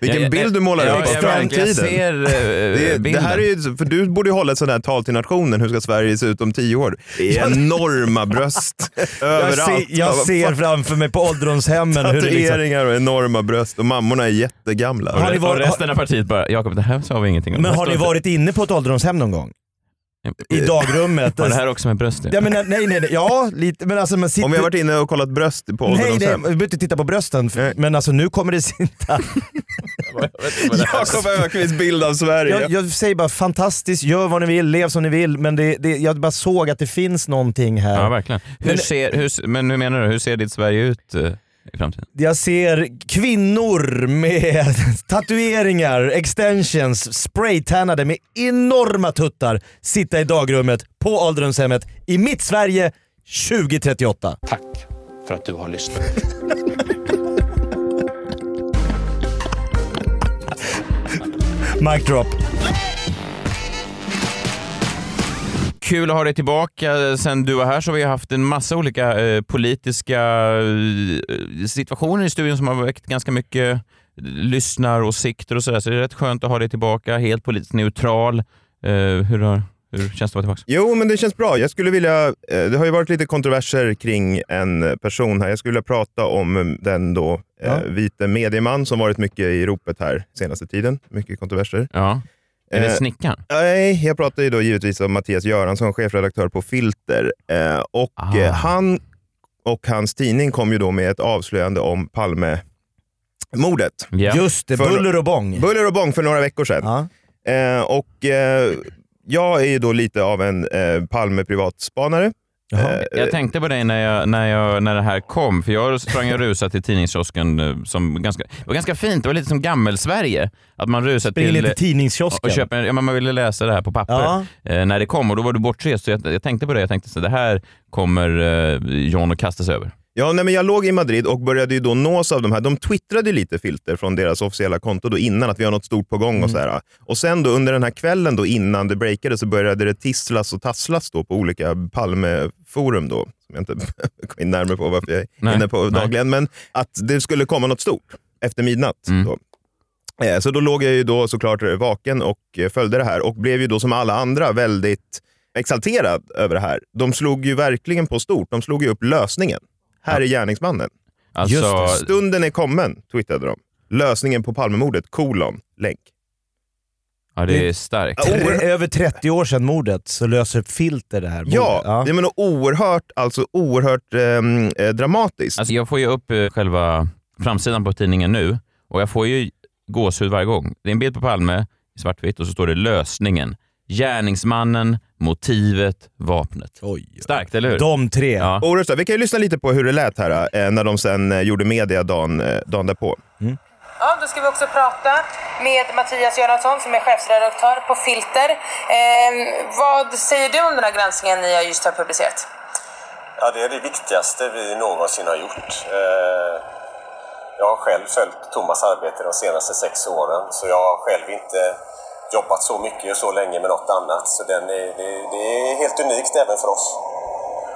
D: Vilken
A: Jag-
D: bild du
A: jag-
D: målar
A: jag-
D: upp av
A: jag- jag- jag
D: framtiden.
A: ser, eh,
D: det, det
A: bilden.
D: här är ju, för du borde ju hålla ett sånt här tal till nationen, hur ska Sverige se ut om tio år? Det är enorma bröst överallt.
B: Jag ser, jag
D: Vad
B: ser
D: fan,
B: framför mig på ålderdomshemmen hur det liksom...
D: Tatueringar och enorma bröst och mammorna är jättegamla.
B: Har ni
A: Och
B: varit,
A: resten av partiet bara, Jakob det här sa vi ingenting om.
B: men
A: Det
B: har
A: står
B: ni
A: inte-
B: varit inne på ett ålderdomshem någon gång?
D: Eh,
B: I dagrummet?
A: Var det här också med brösten?
B: Ja, men, nej, nej, nej, ja lite, men alltså man sitter...
D: Om vi har varit inne och kollat bröst på
B: Nej, nej, vi
D: ålderdomshem.
B: behöver inte titta på brösten, för- men alltså nu kommer det sitta...
D: (laughs) Jakob Öqvists bild av Sverige.
B: Jag, jag säger bara fantastiskt, gör vad ni vill, lev som ni vill, men det, det, jag bara såg att det finns någonting här.
A: Ja, verkligen. Hur
B: Men-
A: ser, hur, men hur menar du? Hur ser ditt Sverige ut? eh, i framtiden?
B: Jag ser kvinnor med (laughs) tatueringar, extensions, spraytannade med enorma tuttar sitta i dagrummet på ålderdomshemmet i mitt Sverige 2038.
H: Tack för att du har lyssnat.
B: (laughs) Mic drop.
A: Kul att ha dig tillbaka. Sen du var här så har vi haft en massa olika eh, politiska eh, situationer i studion som har väckt ganska mycket lyssnaråsikter och sådär. Så det är rätt skönt att ha dig tillbaka, helt politiskt neutral. Eh, hur, har, hur känns det att vara tillbaka?
D: Jo, men det känns bra. Jag skulle vilja, eh, det har ju varit lite kontroverser kring en person här. Jag skulle vilja prata om den då eh,
A: Ja.
D: vite medieman som varit mycket i ropet här senaste tiden. Mycket kontroverser. Eh,
A: Ja. Är
B: Eh,
A: det snickaren?
D: Nej, jag pratar ju då givetvis om Mattias Göransson, chefredaktör på Filter. Eh, och eh, Han och hans tidning kom ju då med ett avslöjande om Palmemordet.
B: Ja. Just det, buller och bång.
D: Buller och bång för några veckor sedan. Eh, och, eh, jag är ju då lite av en eh, Palme-privatspanare. Eh,
A: Jag tänkte på dig när, jag, när, jag, när det här kom, för jag sprang och rusade till tidningskiosken. eh, Som ganska, det var ganska fint, det var lite som gammel-Sverige. Att man rusade
B: Springer
A: till, eh,
B: ner till tidningskiosken.
A: Och, och köper, ja, men man ville läsa det här på papper
B: Ja.
A: eh, när det kom och då var du bortrest. Så jag, jag tänkte på det, jag tänkte så det här kommer eh, John att kasta sig över.
D: Ja, nej, men jag låg i Madrid och började ju då nås av de här. De twittrade ju lite filter från deras officiella konto då innan att vi har något stort på gång.
A: Mm.
D: Och så här. Och sen då under den här kvällen då innan det breakade så började det tisslas och tasslas då på olika Palmeforum då, som jag inte (laughs) går in närmare på varför jag är
A: Nej,
D: inne på
A: nej.
D: dagligen. Men att det skulle komma något stort efter midnatt.
A: Mm.
D: Då. Eh, Så då låg jag ju då såklart vaken och eh, följde det här och blev ju då som alla andra väldigt exalterad över det här. De slog ju verkligen på stort. De slog ju upp lösningen. Här är gärningsmannen.
A: Alltså- Just det.
D: Stunden är kommen, twittrade de. Lösningen på Palmemordet, kolon, länk.
A: Ja, det är starkt.
B: Tre, över 30 år sedan mordet så löser Filter det här mordet.
D: Ja, det menar oerhört, alltså oerhört ehm, eh, dramatiskt.
A: Alltså, jag får ju upp eh, själva framsidan på tidningen nu och jag får ju gåshud varje gång. Det är en bild på Palme i svartvitt och så står det lösningen. Gärningsmannen, motivet, vapnet. Starkt, eller hur?
B: De tre.
A: Ja.
D: Orösta. Vi kan ju lyssna lite på hur det lät här eh, när de sen eh, gjorde media dagen, eh, dagen därpå.
L: Ja, då ska vi också prata med Mattias Göransson som är chefredaktör på Filter. Eh, vad säger du om den här granskningen ni har just har publicerat?
M: Ja, det är det viktigaste vi någonsin har gjort. Eh, Jag har själv följt Thomas arbete de senaste sex åren, så jag har själv inte jobbat så mycket och så länge med något annat. Så den är, det, det är helt unikt även för oss.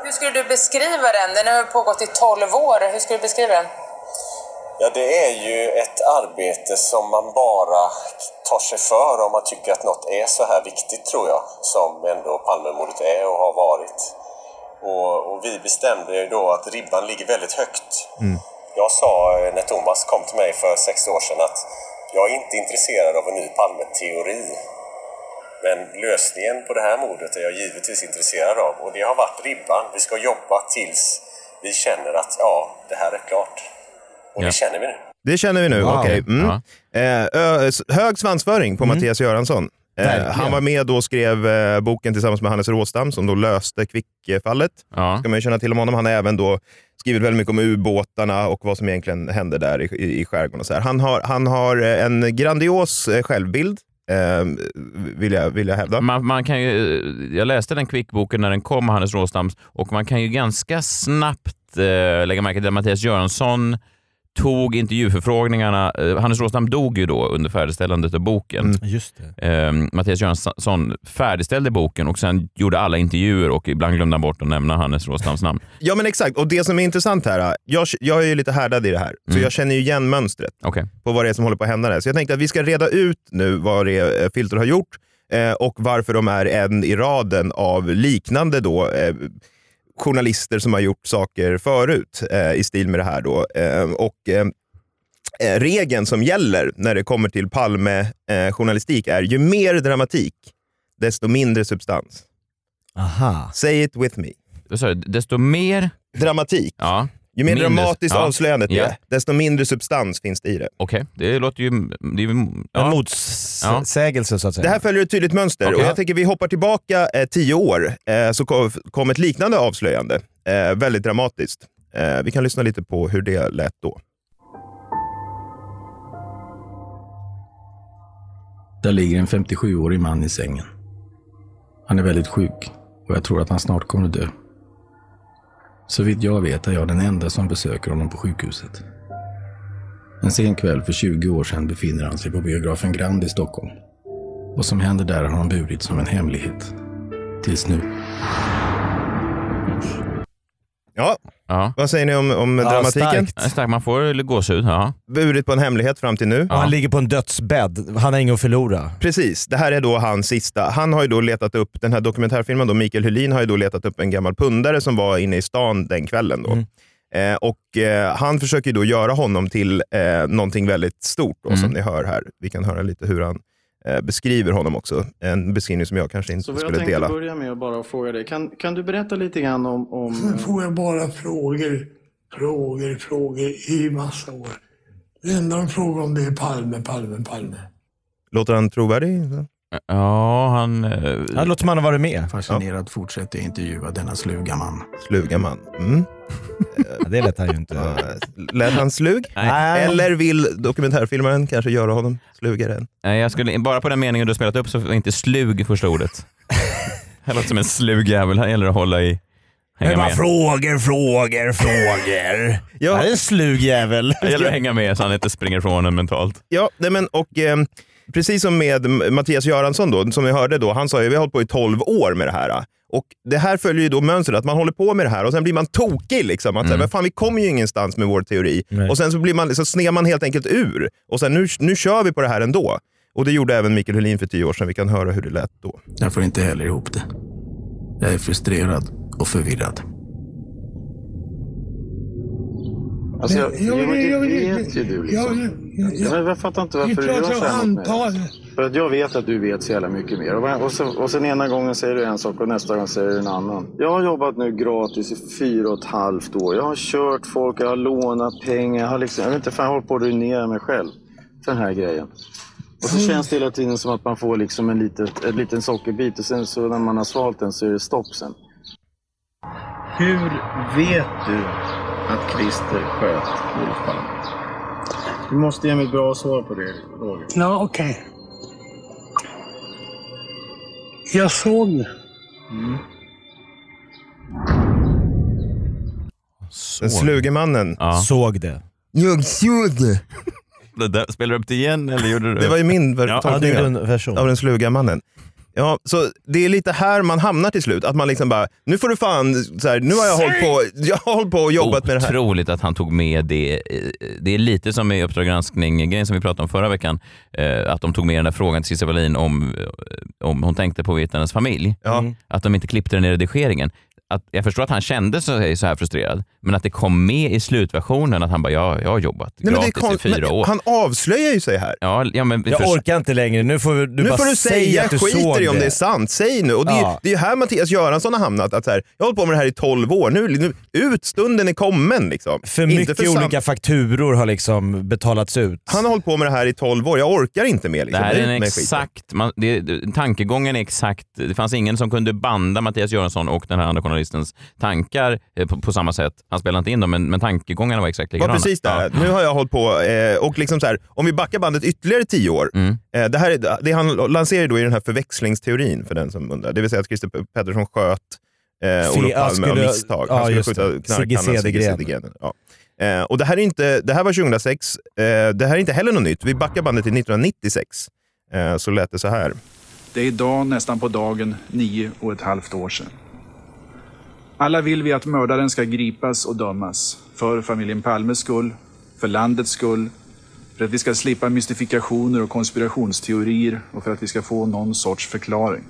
L: Hur skulle du beskriva den? Den har ju pågått i 12 år. Hur skulle du beskriva den?
M: Ja, det är ju ett arbete som man bara tar sig för om man tycker att något är så här viktigt, tror jag, som ändå Palmemordet är och har varit. Och, och vi bestämde ju då att ribban ligger väldigt högt. Jag sa eh, när Thomas kom till mig för sex år sedan att jag är inte intresserad av en ny Palme-teori. Men lösningen på det här mordet är jag givetvis intresserad av och det har varit ribban. Vi ska jobba tills vi känner att ja, det här är klart. Och det känner vi nu.
D: Det känner vi nu.
M: Wow.
D: okej. Mm. Eh, ö, s- hög svansföring på Mattias Göransson. Eh,
M: Verkligen.
D: han var med och skrev eh, boken tillsammans med Hannes Råstam som då löste Kvickfallet.
A: Ja.
D: ska man ju känna till om honom. Han har även då skrivit väldigt mycket om ubåtarna och vad som egentligen hände där i, i, i skärgården. Och så här. Han, har, han har eh, en grandios eh, självbild, eh, vill, jag, vill jag hävda.
A: Man, man kan ju, eh, jag läste den kvickboken när den kom, Hannes Råstams, och man kan ju ganska snabbt eh, lägga märke till att Mattias Göransson tog intervjuförfrågningarna. Eh, Hannes Råstam dog ju då under färdigställandet av boken.
B: Just
A: Eh, Mattias Göransson färdigställde boken och sen gjorde alla intervjuer och ibland glömde han bort att nämna Hannes Råstams namn.
D: Ja men exakt, och det som är intressant här, eh, jag, jag är ju lite härdad i det här, så jag känner ju igen mönstret på vad det är eh, som håller på att hända där. Så jag tänkte att vi ska reda ut nu vad det är eh, Filter har gjort eh, och varför de är en i raden av liknande då, eh, journalister som har gjort saker förut eh, i stil med det här. Då. Eh, och, eh, eh, regeln som gäller när det kommer till Palme-journalistik är ju mer dramatik, desto mindre substans.
B: Aha.
D: Say it with me.
A: Desto mer...
D: Dramatik.
A: Ja.
D: Ju mer
A: Mindre-
D: dramatiskt
A: ja.
D: avslöjandet
A: Ja.
D: är, desto mindre substans finns det i det.
A: Okej, det låter ju... Det är, ju- ja.
D: En
A: Ja.
B: motsägelse så att säga.
D: Det här följer ett tydligt mönster
A: Okej.
D: och jag tänker vi hoppar tillbaka eh, tio år eh, så kom, kom ett liknande avslöjande. Eh, väldigt dramatiskt. Eh, vi kan lyssna lite på hur det lät då.
N: Där ligger en 57-årig man i sängen. Han är väldigt sjuk och jag tror att han snart kommer att dö. Så vitt jag vet är jag den enda som besöker honom på sjukhuset. En sen kväll för 20 år sedan befinner han sig på biografen Grand i Stockholm. Vad som händer där har han burit som en hemlighet. Tills nu.
D: Ja, vad säger ni om, om
A: Ja,
D: dramatiken?
A: starkt. Ja, starkt. Man får gåshud. Ja.
D: Burit på en hemlighet fram till nu.
A: Ja. Han
D: ligger på en dödsbädd. Han har inget att förlora. Precis. Det här är då hans sista. Han har ju då letat upp, den här dokumentärfilmen då, Mikael Hulin har ju då letat upp en gammal pundare som var inne i stan den kvällen. Då. Eh, och eh, Han försöker ju då göra honom till eh, någonting väldigt stort, då, som ni hör här. Vi kan höra lite hur han eh, beskriver honom också. En beskrivning som jag kanske inte
O: Så vad jag
D: skulle
O: tänkte
D: dela.
O: börja med att bara fråga dig. Kan, kan du berätta lite grann om... om
P: Sen får jag bara frågor, frågor, frågor i massa år. Det enda de frågar om det är Palme, Palme, Palme.
D: Låter han trovärdig?
A: Ja, han... eh,
B: Han låter som han har varit med.
N: Fascinerad fortsätter jag intervjua denna sluga man.
D: Sluga man. Mm.
B: det lät han ju inte.
D: Lät han slug?
A: Nej.
D: Eller vill dokumentärfilmaren kanske göra honom slugare? än?
A: Nej, jag skulle, bara på den meningen du spelat upp så var inte slug första
D: (laughs)
A: ordet. Det låter som en slug jävel. Här gäller det att hålla i...
B: Men bara frågor, frågor, frågor.
D: Ja.
B: Det är en slug jävel.
A: Det gäller att hänga med så han inte springer ifrån en mentalt.
D: Ja, nej men, och eh, precis som med M- Mattias Göransson då, som vi hörde då, han sa ju vi har hållit på i 12 år med det här. Och det här följer ju då mönstret att man håller på med det här och sen blir man tokig. Liksom,
A: Mm.
D: att, så här, men fan, vi kommer ju ingenstans med vår teori. Och sen så, blir man, så snear man helt enkelt ur. Och sen nu, nu kör vi på det här ändå. Och det gjorde även Mikael Helin för tio år sedan. Vi kan höra hur det lät då.
N: Jag får inte heller ihop det. Jag är frustrerad och förvirrad.
O: alltså, jag,
P: Jag vill-
O: det
P: jag vill-
O: vet ju du
P: jag
O: liksom.
P: vill- jag-
O: Ja, men jag fattar inte
P: Vi
O: varför du gör
P: pratar
O: så här
P: om
O: mot mig.
P: antal.
O: För att jag vet att du vet så jävla mycket mer. Och, var- och, så, och sen ena gången säger du en sak och nästa gång säger du en annan. Jag har jobbat nu gratis i fyra och ett halvt år. Jag har kört folk, jag har lånat pengar. Jag, har liksom, jag vet inte, fan, jag håller på att ruinera mig själv. Den här grejen. Och så känns det hela tiden som att man får liksom en, litet, en liten sockerbit och sen så när man har svalt den så är det stopp sen. Hur vet du att Christer sköt Olof Palme? Du måste ge mig ett bra svar på det, Roger.
P: Ja, okej. Jag såg det.
D: Den sluge mannen
B: såg det.
D: Jag såg det.
A: Det där, spelar du upp det igen eller gjorde du
D: Det var ju min ver-
A: Ja,
D: tolkning
A: det är
D: av-
A: din version.
D: av den sluga mannen. Ja, så det är lite här man hamnar till slut. Att man liksom bara, nu får du fan, så här, nu har jag hållit på, jag har hållit på och jobbat med det här.
A: Otroligt att han tog med det. eh, Det är lite som i Uppdrag granskning, grejen som vi pratade om förra veckan, eh, att de tog med den där frågan till Cissi Wallin om, eh, om hon tänkte på vittnenas familj. Att de inte klippte den i redigeringen. Att, jag förstår att han kände sig så här frustrerad, men att det kom med i slutversionen att han bara, ja, jag har jobbat
D: Nej, men det är
A: gratis i
D: kon-
A: fyra
D: men
A: år.
D: Han avslöjar ju sig här.
A: Ja, ja, men vi
D: Jag
A: förs-
B: Orkar inte längre. Nu får du
D: nu
B: bara
D: får du säga,
B: att du såg
D: skiter i om det. är sant. Säg nu. Och det,
B: Ja.
D: är, det är ju här Mattias Göransson har hamnat. Att så här, jag har hållit på med det här i 12 år. Nu, nu, ut, stunden är kommen. Liksom.
B: För mycket olika fakturor har liksom betalats ut.
D: Han har hållit på med det här i 12 år. Jag orkar inte mer. Liksom.
A: Det här
D: Ut
A: är en
D: med
A: exakt, man, det, det- tankegången är exakt, det fanns ingen som kunde banda Mattias Göransson och den här andra journalistens tankar eh, på, på samma sätt. Han spelade inte in dem, men, men tankegångarna var exakt
D: var
A: likadana.
D: precis där. Nu har jag hållit på eh, och liksom så här, om vi backar bandet ytterligare tio år.
B: Mm.
D: Eh, det, här är, det han lanserar då är den här förväxlingsteorin för den som undrar. Det vill säga att Christer P- Pettersson sköt eh,
B: Fe-
D: Olof
B: ja,
D: Palme av
B: skulle-
D: misstag.
B: ja,
D: Han skulle
B: just
D: skjuta
B: det.
D: knarkhandlaren
B: Sigge
D: Sigge
B: Cedergren.
D: Cedergren. Ja. Eh, och det här, är inte, det här var 2006. Eh, det här är inte heller något nytt. Vi backar bandet till 1996. Eh, så lät det så här.
Q: Det är idag nästan på dagen nio och ett halvt år sedan. Alla vill vi att mördaren ska gripas och dömas. För familjen Palmes skull, för landets skull, för att vi ska slippa mystifikationer och konspirationsteorier och för att vi ska få någon sorts förklaring.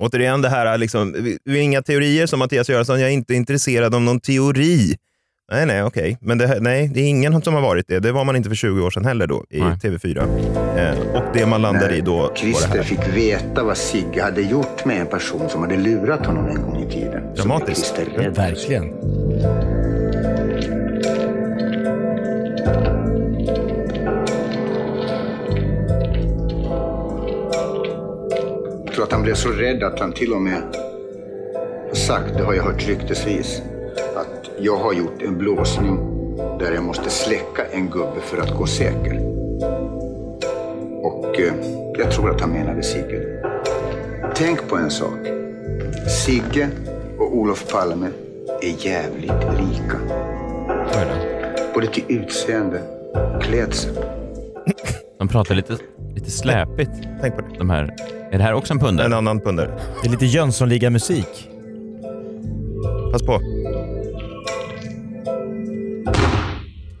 D: Återigen, det här är liksom, vi- vi har inga teorier som Mattias Göransson. Jag är inte intresserad av någon teori. Nej, nej, okej. Men det, här- nej, det är ingen som har varit det. Det var man inte för 20 år sedan heller då i TV4. Eh, och det man landade i då var det
R: Christer
D: här.
R: fick veta vad Sigge hade gjort med en person som hade lurat honom en gång i tiden. Dramatiskt.
B: Verkligen.
R: Jag tror att han blev så rädd att han till och med har sagt, det har jag hört ryktesvis, att Jag har gjort en blåsning där jag måste släcka en gubbe för att gå säker. Och eh, jag tror att han menade Sigge. Tänk på en sak. Sigge och Olof Palme är jävligt lika. Både till utseende, klädsel.
A: De pratar lite, lite släpigt.
D: Tänk på det.
A: De här, är det här också en pundare? En
D: annan pundare.
B: Det är lite Jönssonliga-musik.
D: Pass på.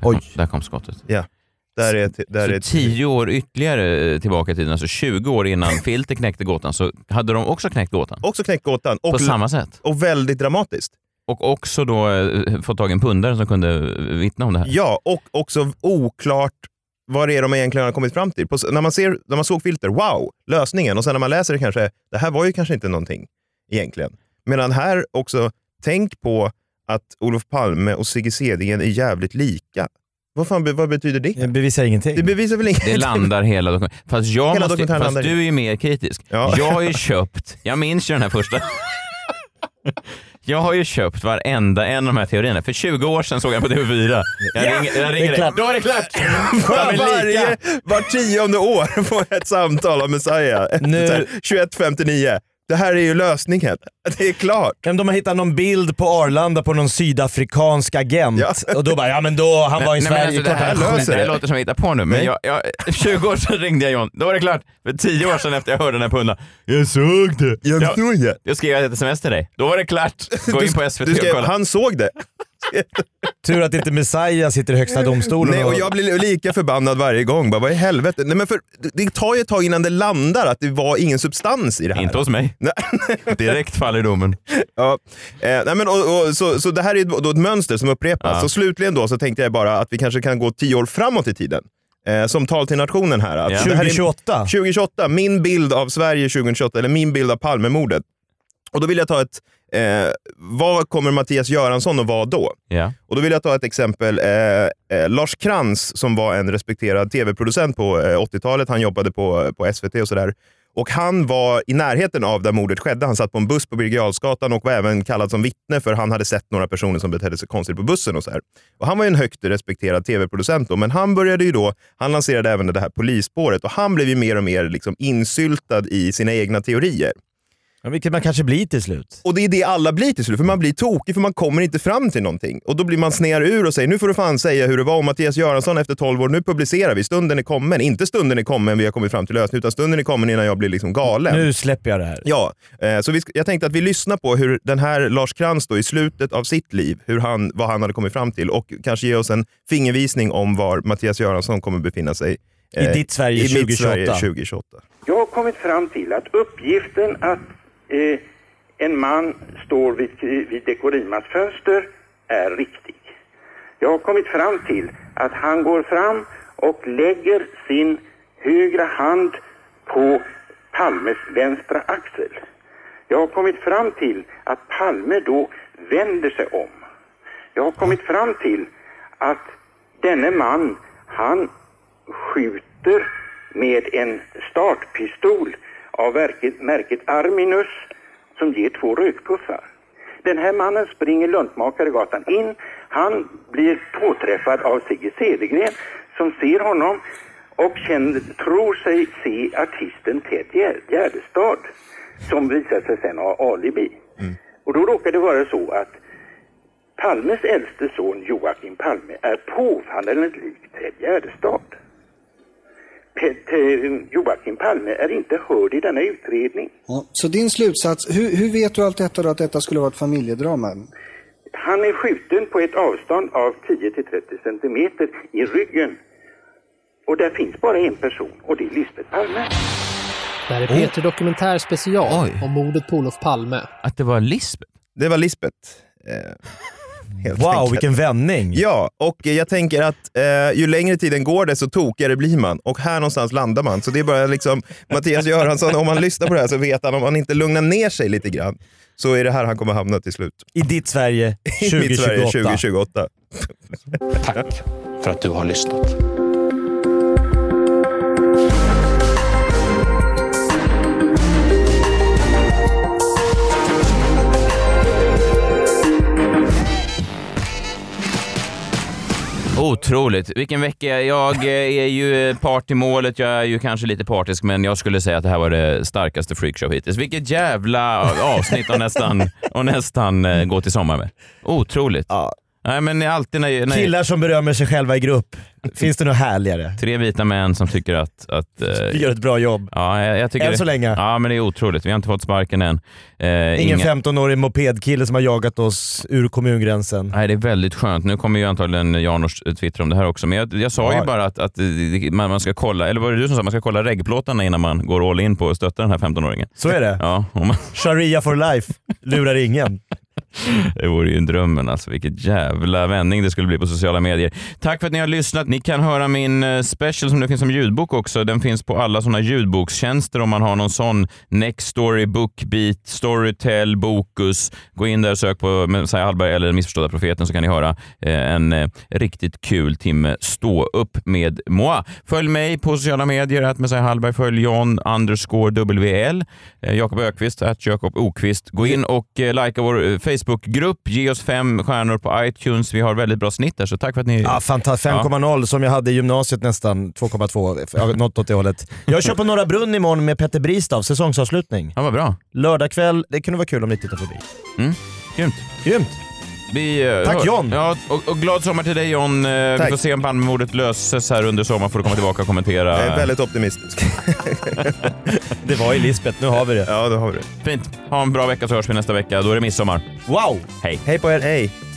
A: Oj. Där kom skottet.
D: Ja. Där är, där
A: så
D: är
A: tio år ytterligare eh, tillbaka i tiden, alltså 20 år
D: (clears throat)
A: innan Filter knäckte gåtan, så hade de också knäckt gåtan.
D: Också knäckt gåtan.
A: På samma sätt.
D: Och väldigt dramatiskt.
A: Och också då eh, fått tag i en pundare som kunde eh, vittna om det här.
D: Ja, och också oklart vad det är de egentligen har kommit fram till. På, s- när, man ser, när man såg filter, wow, lösningen. Och sen när man läser det kanske, det här var ju kanske inte någonting egentligen. Medan här också, tänk på att Olof Palme och Sigge Cedingen är jävligt lika. Vad, fan, be- vad betyder det? Det
B: bevisar ingenting.
D: Det bevisar väl ingenting?
A: Det landar hela dokumentet. Fast, jag
D: Hela
A: måste,
D: dokumentären
A: fast
D: landar i-
A: du är ju mer kritisk. Jag har ju köpt, jag minns ju den här
D: (laughs)
A: första. Jag har ju köpt varenda en av de här teorierna. För 20 år sedan såg jag på TV4. Jag
D: Ja,
A: ringer, jag
D: det är
A: ringer dig.
D: klart.
A: Då är det klart!
D: Var,
A: De är lika.
D: varje, var tionde år får jag ett samtal av Messiah.
B: Nu-
D: Så här, 21.59. Det här är ju lösningen. Det är klart.
B: Men de har hittat någon bild på Arlanda på någon sydafrikansk agent. Och då bara, ja men då, han var i
A: Nej, men
B: Sverige.
A: alltså, det,
B: klart
A: här,
B: han
A: det,
B: löser
A: här låter som jag hittar på nu, men jag, jag, (laughs) 20 år sedan ringde jag John. Då var det klart. För 10 år sedan efter jag hörde den här pundan. Jag såg det.
D: Jag såg det.
A: Jag skrev ett sms till dig. Då var det klart. Gå in på SVT
D: Du skrev,
A: och kolla.
D: han såg det.
B: Tur att inte Messiah sitter i högsta domstolen.
D: Nej, och jag blir lika förbannad varje gång. Bara, vad i helvete? Nej, men för, det tar ju ett tag innan det landar att det var ingen substans i det här.
A: Inte hos mig. Direkt faller domen.
D: (laughs) Ja. Eh, nej, men, och, och, så, så det här är ett- då ett mönster som upprepas.
A: Ja.
D: Så slutligen då så tänkte jag bara att vi kanske kan gå tio år framåt i tiden. Eh, som tal till nationen här. Att
A: Ja.
D: det här är-
A: 2028.
D: 2028. Min bild av Sverige 2028, eller min bild av Palmemordet. Och då vill jag ta ett... Eh, vad kommer Mattias Göransson att vara då?
A: Ja.
D: Och då vill jag ta ett exempel. Eh, eh, Lars Krantz som var en respekterad tv-producent på eh, 80-talet. Han jobbade på, på SVT och sådär. Och han var i närheten av där mordet skedde. Han satt på en buss på Birger Jarlsgatan och var även kallad som vittne för han hade sett några personer som betedde sig konstigt på bussen. och så här. Och Han var ju en högt respekterad tv-producent då, men han började ju då, han lanserade även det här polisspåret och han blev ju mer och mer liksom insyltad i sina egna teorier.
B: Ja, vilket man kanske blir till slut.
D: Och det är det alla blir till slut, för man blir tokig för man kommer inte fram till någonting. Och då blir man sner ur och säger nu får du fan säga hur det var. Och Mattias Göransson efter 12 år, nu publicerar vi. Stunden är kommen. Inte stunden är kommen vi har kommit fram till lösningen, utan stunden är kommen innan jag blir liksom galen.
B: Nu släpper jag det här.
D: Ja, eh, så vi, sk- jag tänkte att vi lyssnar på hur den här Lars Krantz då i slutet av sitt liv, hur han, vad han hade kommit fram till och kanske ge oss en fingervisning om var Mattias Göransson kommer befinna sig. eh,
B: I ditt Sverige
D: i mitt
B: 2028.
D: Sverige 2028.
S: Jag har kommit fram till att uppgiften att eh, en man står vid, vid Dekorimas fönster är riktig. Jag har kommit fram till att han går fram och lägger sin högra hand på Palmes vänstra axel. Jag har kommit fram till att Palme då vänder sig om. Jag har kommit fram till att denne man, han skjuter med en startpistol av verket, märket Arminus som ger två rökpuffar. Den här mannen springer Luntmakaregatan in. Han blir påträffad av Sigge Cedergren som ser honom och känner, tror sig se artisten Ted Gär- Gärdestad som visar sig sen ha alibi. Och då råkar det vara så att Palmes äldste son Joakim Palme är påfallande lik Ted Gärdestad. Pe- Te- Joakim Palme är inte hörd i denna utredning.
T: Ja, så din slutsats, hur, hur vet du allt detta då att detta skulle vara ett familjedrama?
S: Han är skjuten på ett avstånd av 10 till 30 centimeter i ryggen. Och där finns bara en person och det är Lisbeth Palme.
U: Det här är Peter Dokumentär special om mordet på Olof Palme.
A: Att det var Lisbeth?
D: Det var Lisbeth. eh, Helt
B: Wow,
D: enkelt.
B: vilken vändning.
D: Ja, och eh, jag tänker att eh, ju längre tiden går desto tokigare blir man. Och här någonstans landar man. Så det är bara liksom, Mattias Göransson, om han lyssnar på det här så vet han, om han inte lugnar ner sig lite grann, så är det här han kommer hamna till slut.
B: I ditt Sverige
D: (laughs) I mitt Sverige 2028.
S: Tack för att du har lyssnat.
A: Otroligt. Vilken vecka. Jag eh, är ju eh, part i målet. Jag är ju kanske lite partisk, men jag skulle säga att det här var det starkaste freakshow hittills. Vilket jävla avsnitt och nästan, och nästan eh, gå till sommar med. Otroligt. Nej, men alltid när... när
B: Killar som berömmer sig själva i grupp. Finns det något härligare?
A: Tre vita män som tycker att... att eh,
B: Vi gör ett bra jobb.
A: Ja, jag, jag tycker
B: Än
A: det-
B: så länge.
A: Ja, men det är otroligt. Vi har inte fått sparken än. Eh,
B: Ingen 15-årig mopedkille som har jagat oss ur kommungränsen.
A: Nej, det är väldigt skönt. Nu kommer ju antagligen Janors twittra om det här också, men jag, jag sa
B: Ja.
A: ju bara att, att eh, man, man ska kolla, eller var det du som sa, man ska kolla regplåtarna innan man går all in på att stötta den här 15-åringen.
B: Så är det.
A: Ja, om man,
B: Sharia for life. Lurar ingen.
A: det vore ju drömmen alltså. Vilket jävla vändning det skulle bli på sociala medier. Tack för att ni har lyssnat. Ni kan höra min eh, special som nu finns som ljudbok också. Den finns på alla sådana ljudbokstjänster om man har någon sån. Nextory, Bookbeat, Storytel, Bokus. Gå in där och sök på Messiah Hallberg eller Den missförstådda profeten så kan ni höra eh, en eh, riktigt kul timme stå upp med moi. Följ mig på sociala medier, att Messiah Hallberg. Följ John underscore WL. Eh, Jakob Ökvist, att Jakob Okvist. Gå in och eh, likea vår eh, Facebookgrupp. Ge oss fem stjärnor på iTunes. Vi har väldigt bra snitt där, så tack för att ni...
B: Ja, fantastiskt. 5,0 som jag hade i gymnasiet nästan. 2,2. Ja, Något åt det hållet. Jag kör på Norra Brunn imorgon med Petter Bristav, säsongsavslutning.
A: Ja, vad bra.
B: Lördag kväll. Det kunde vara kul om ni tittar förbi.
A: Mm. Grymt.
B: Grymt.
A: Vi, eh,
B: Tack,
A: hör-
B: John.
A: Ja, och, och glad sommar till dig John. Eh, Vi
B: Tack.
A: får se om Palmemordet löses här under sommaren. får du komma tillbaka och kommentera.
D: Jag är väldigt optimistisk.
B: det var ju Lisbeth, nu har vi det.
D: Ja, nu har vi det.
A: Fint. Ha en bra vecka så hörs vi nästa vecka. Då är det midsommar.
B: Wow!
A: Hej.
B: Hej på er. Hej.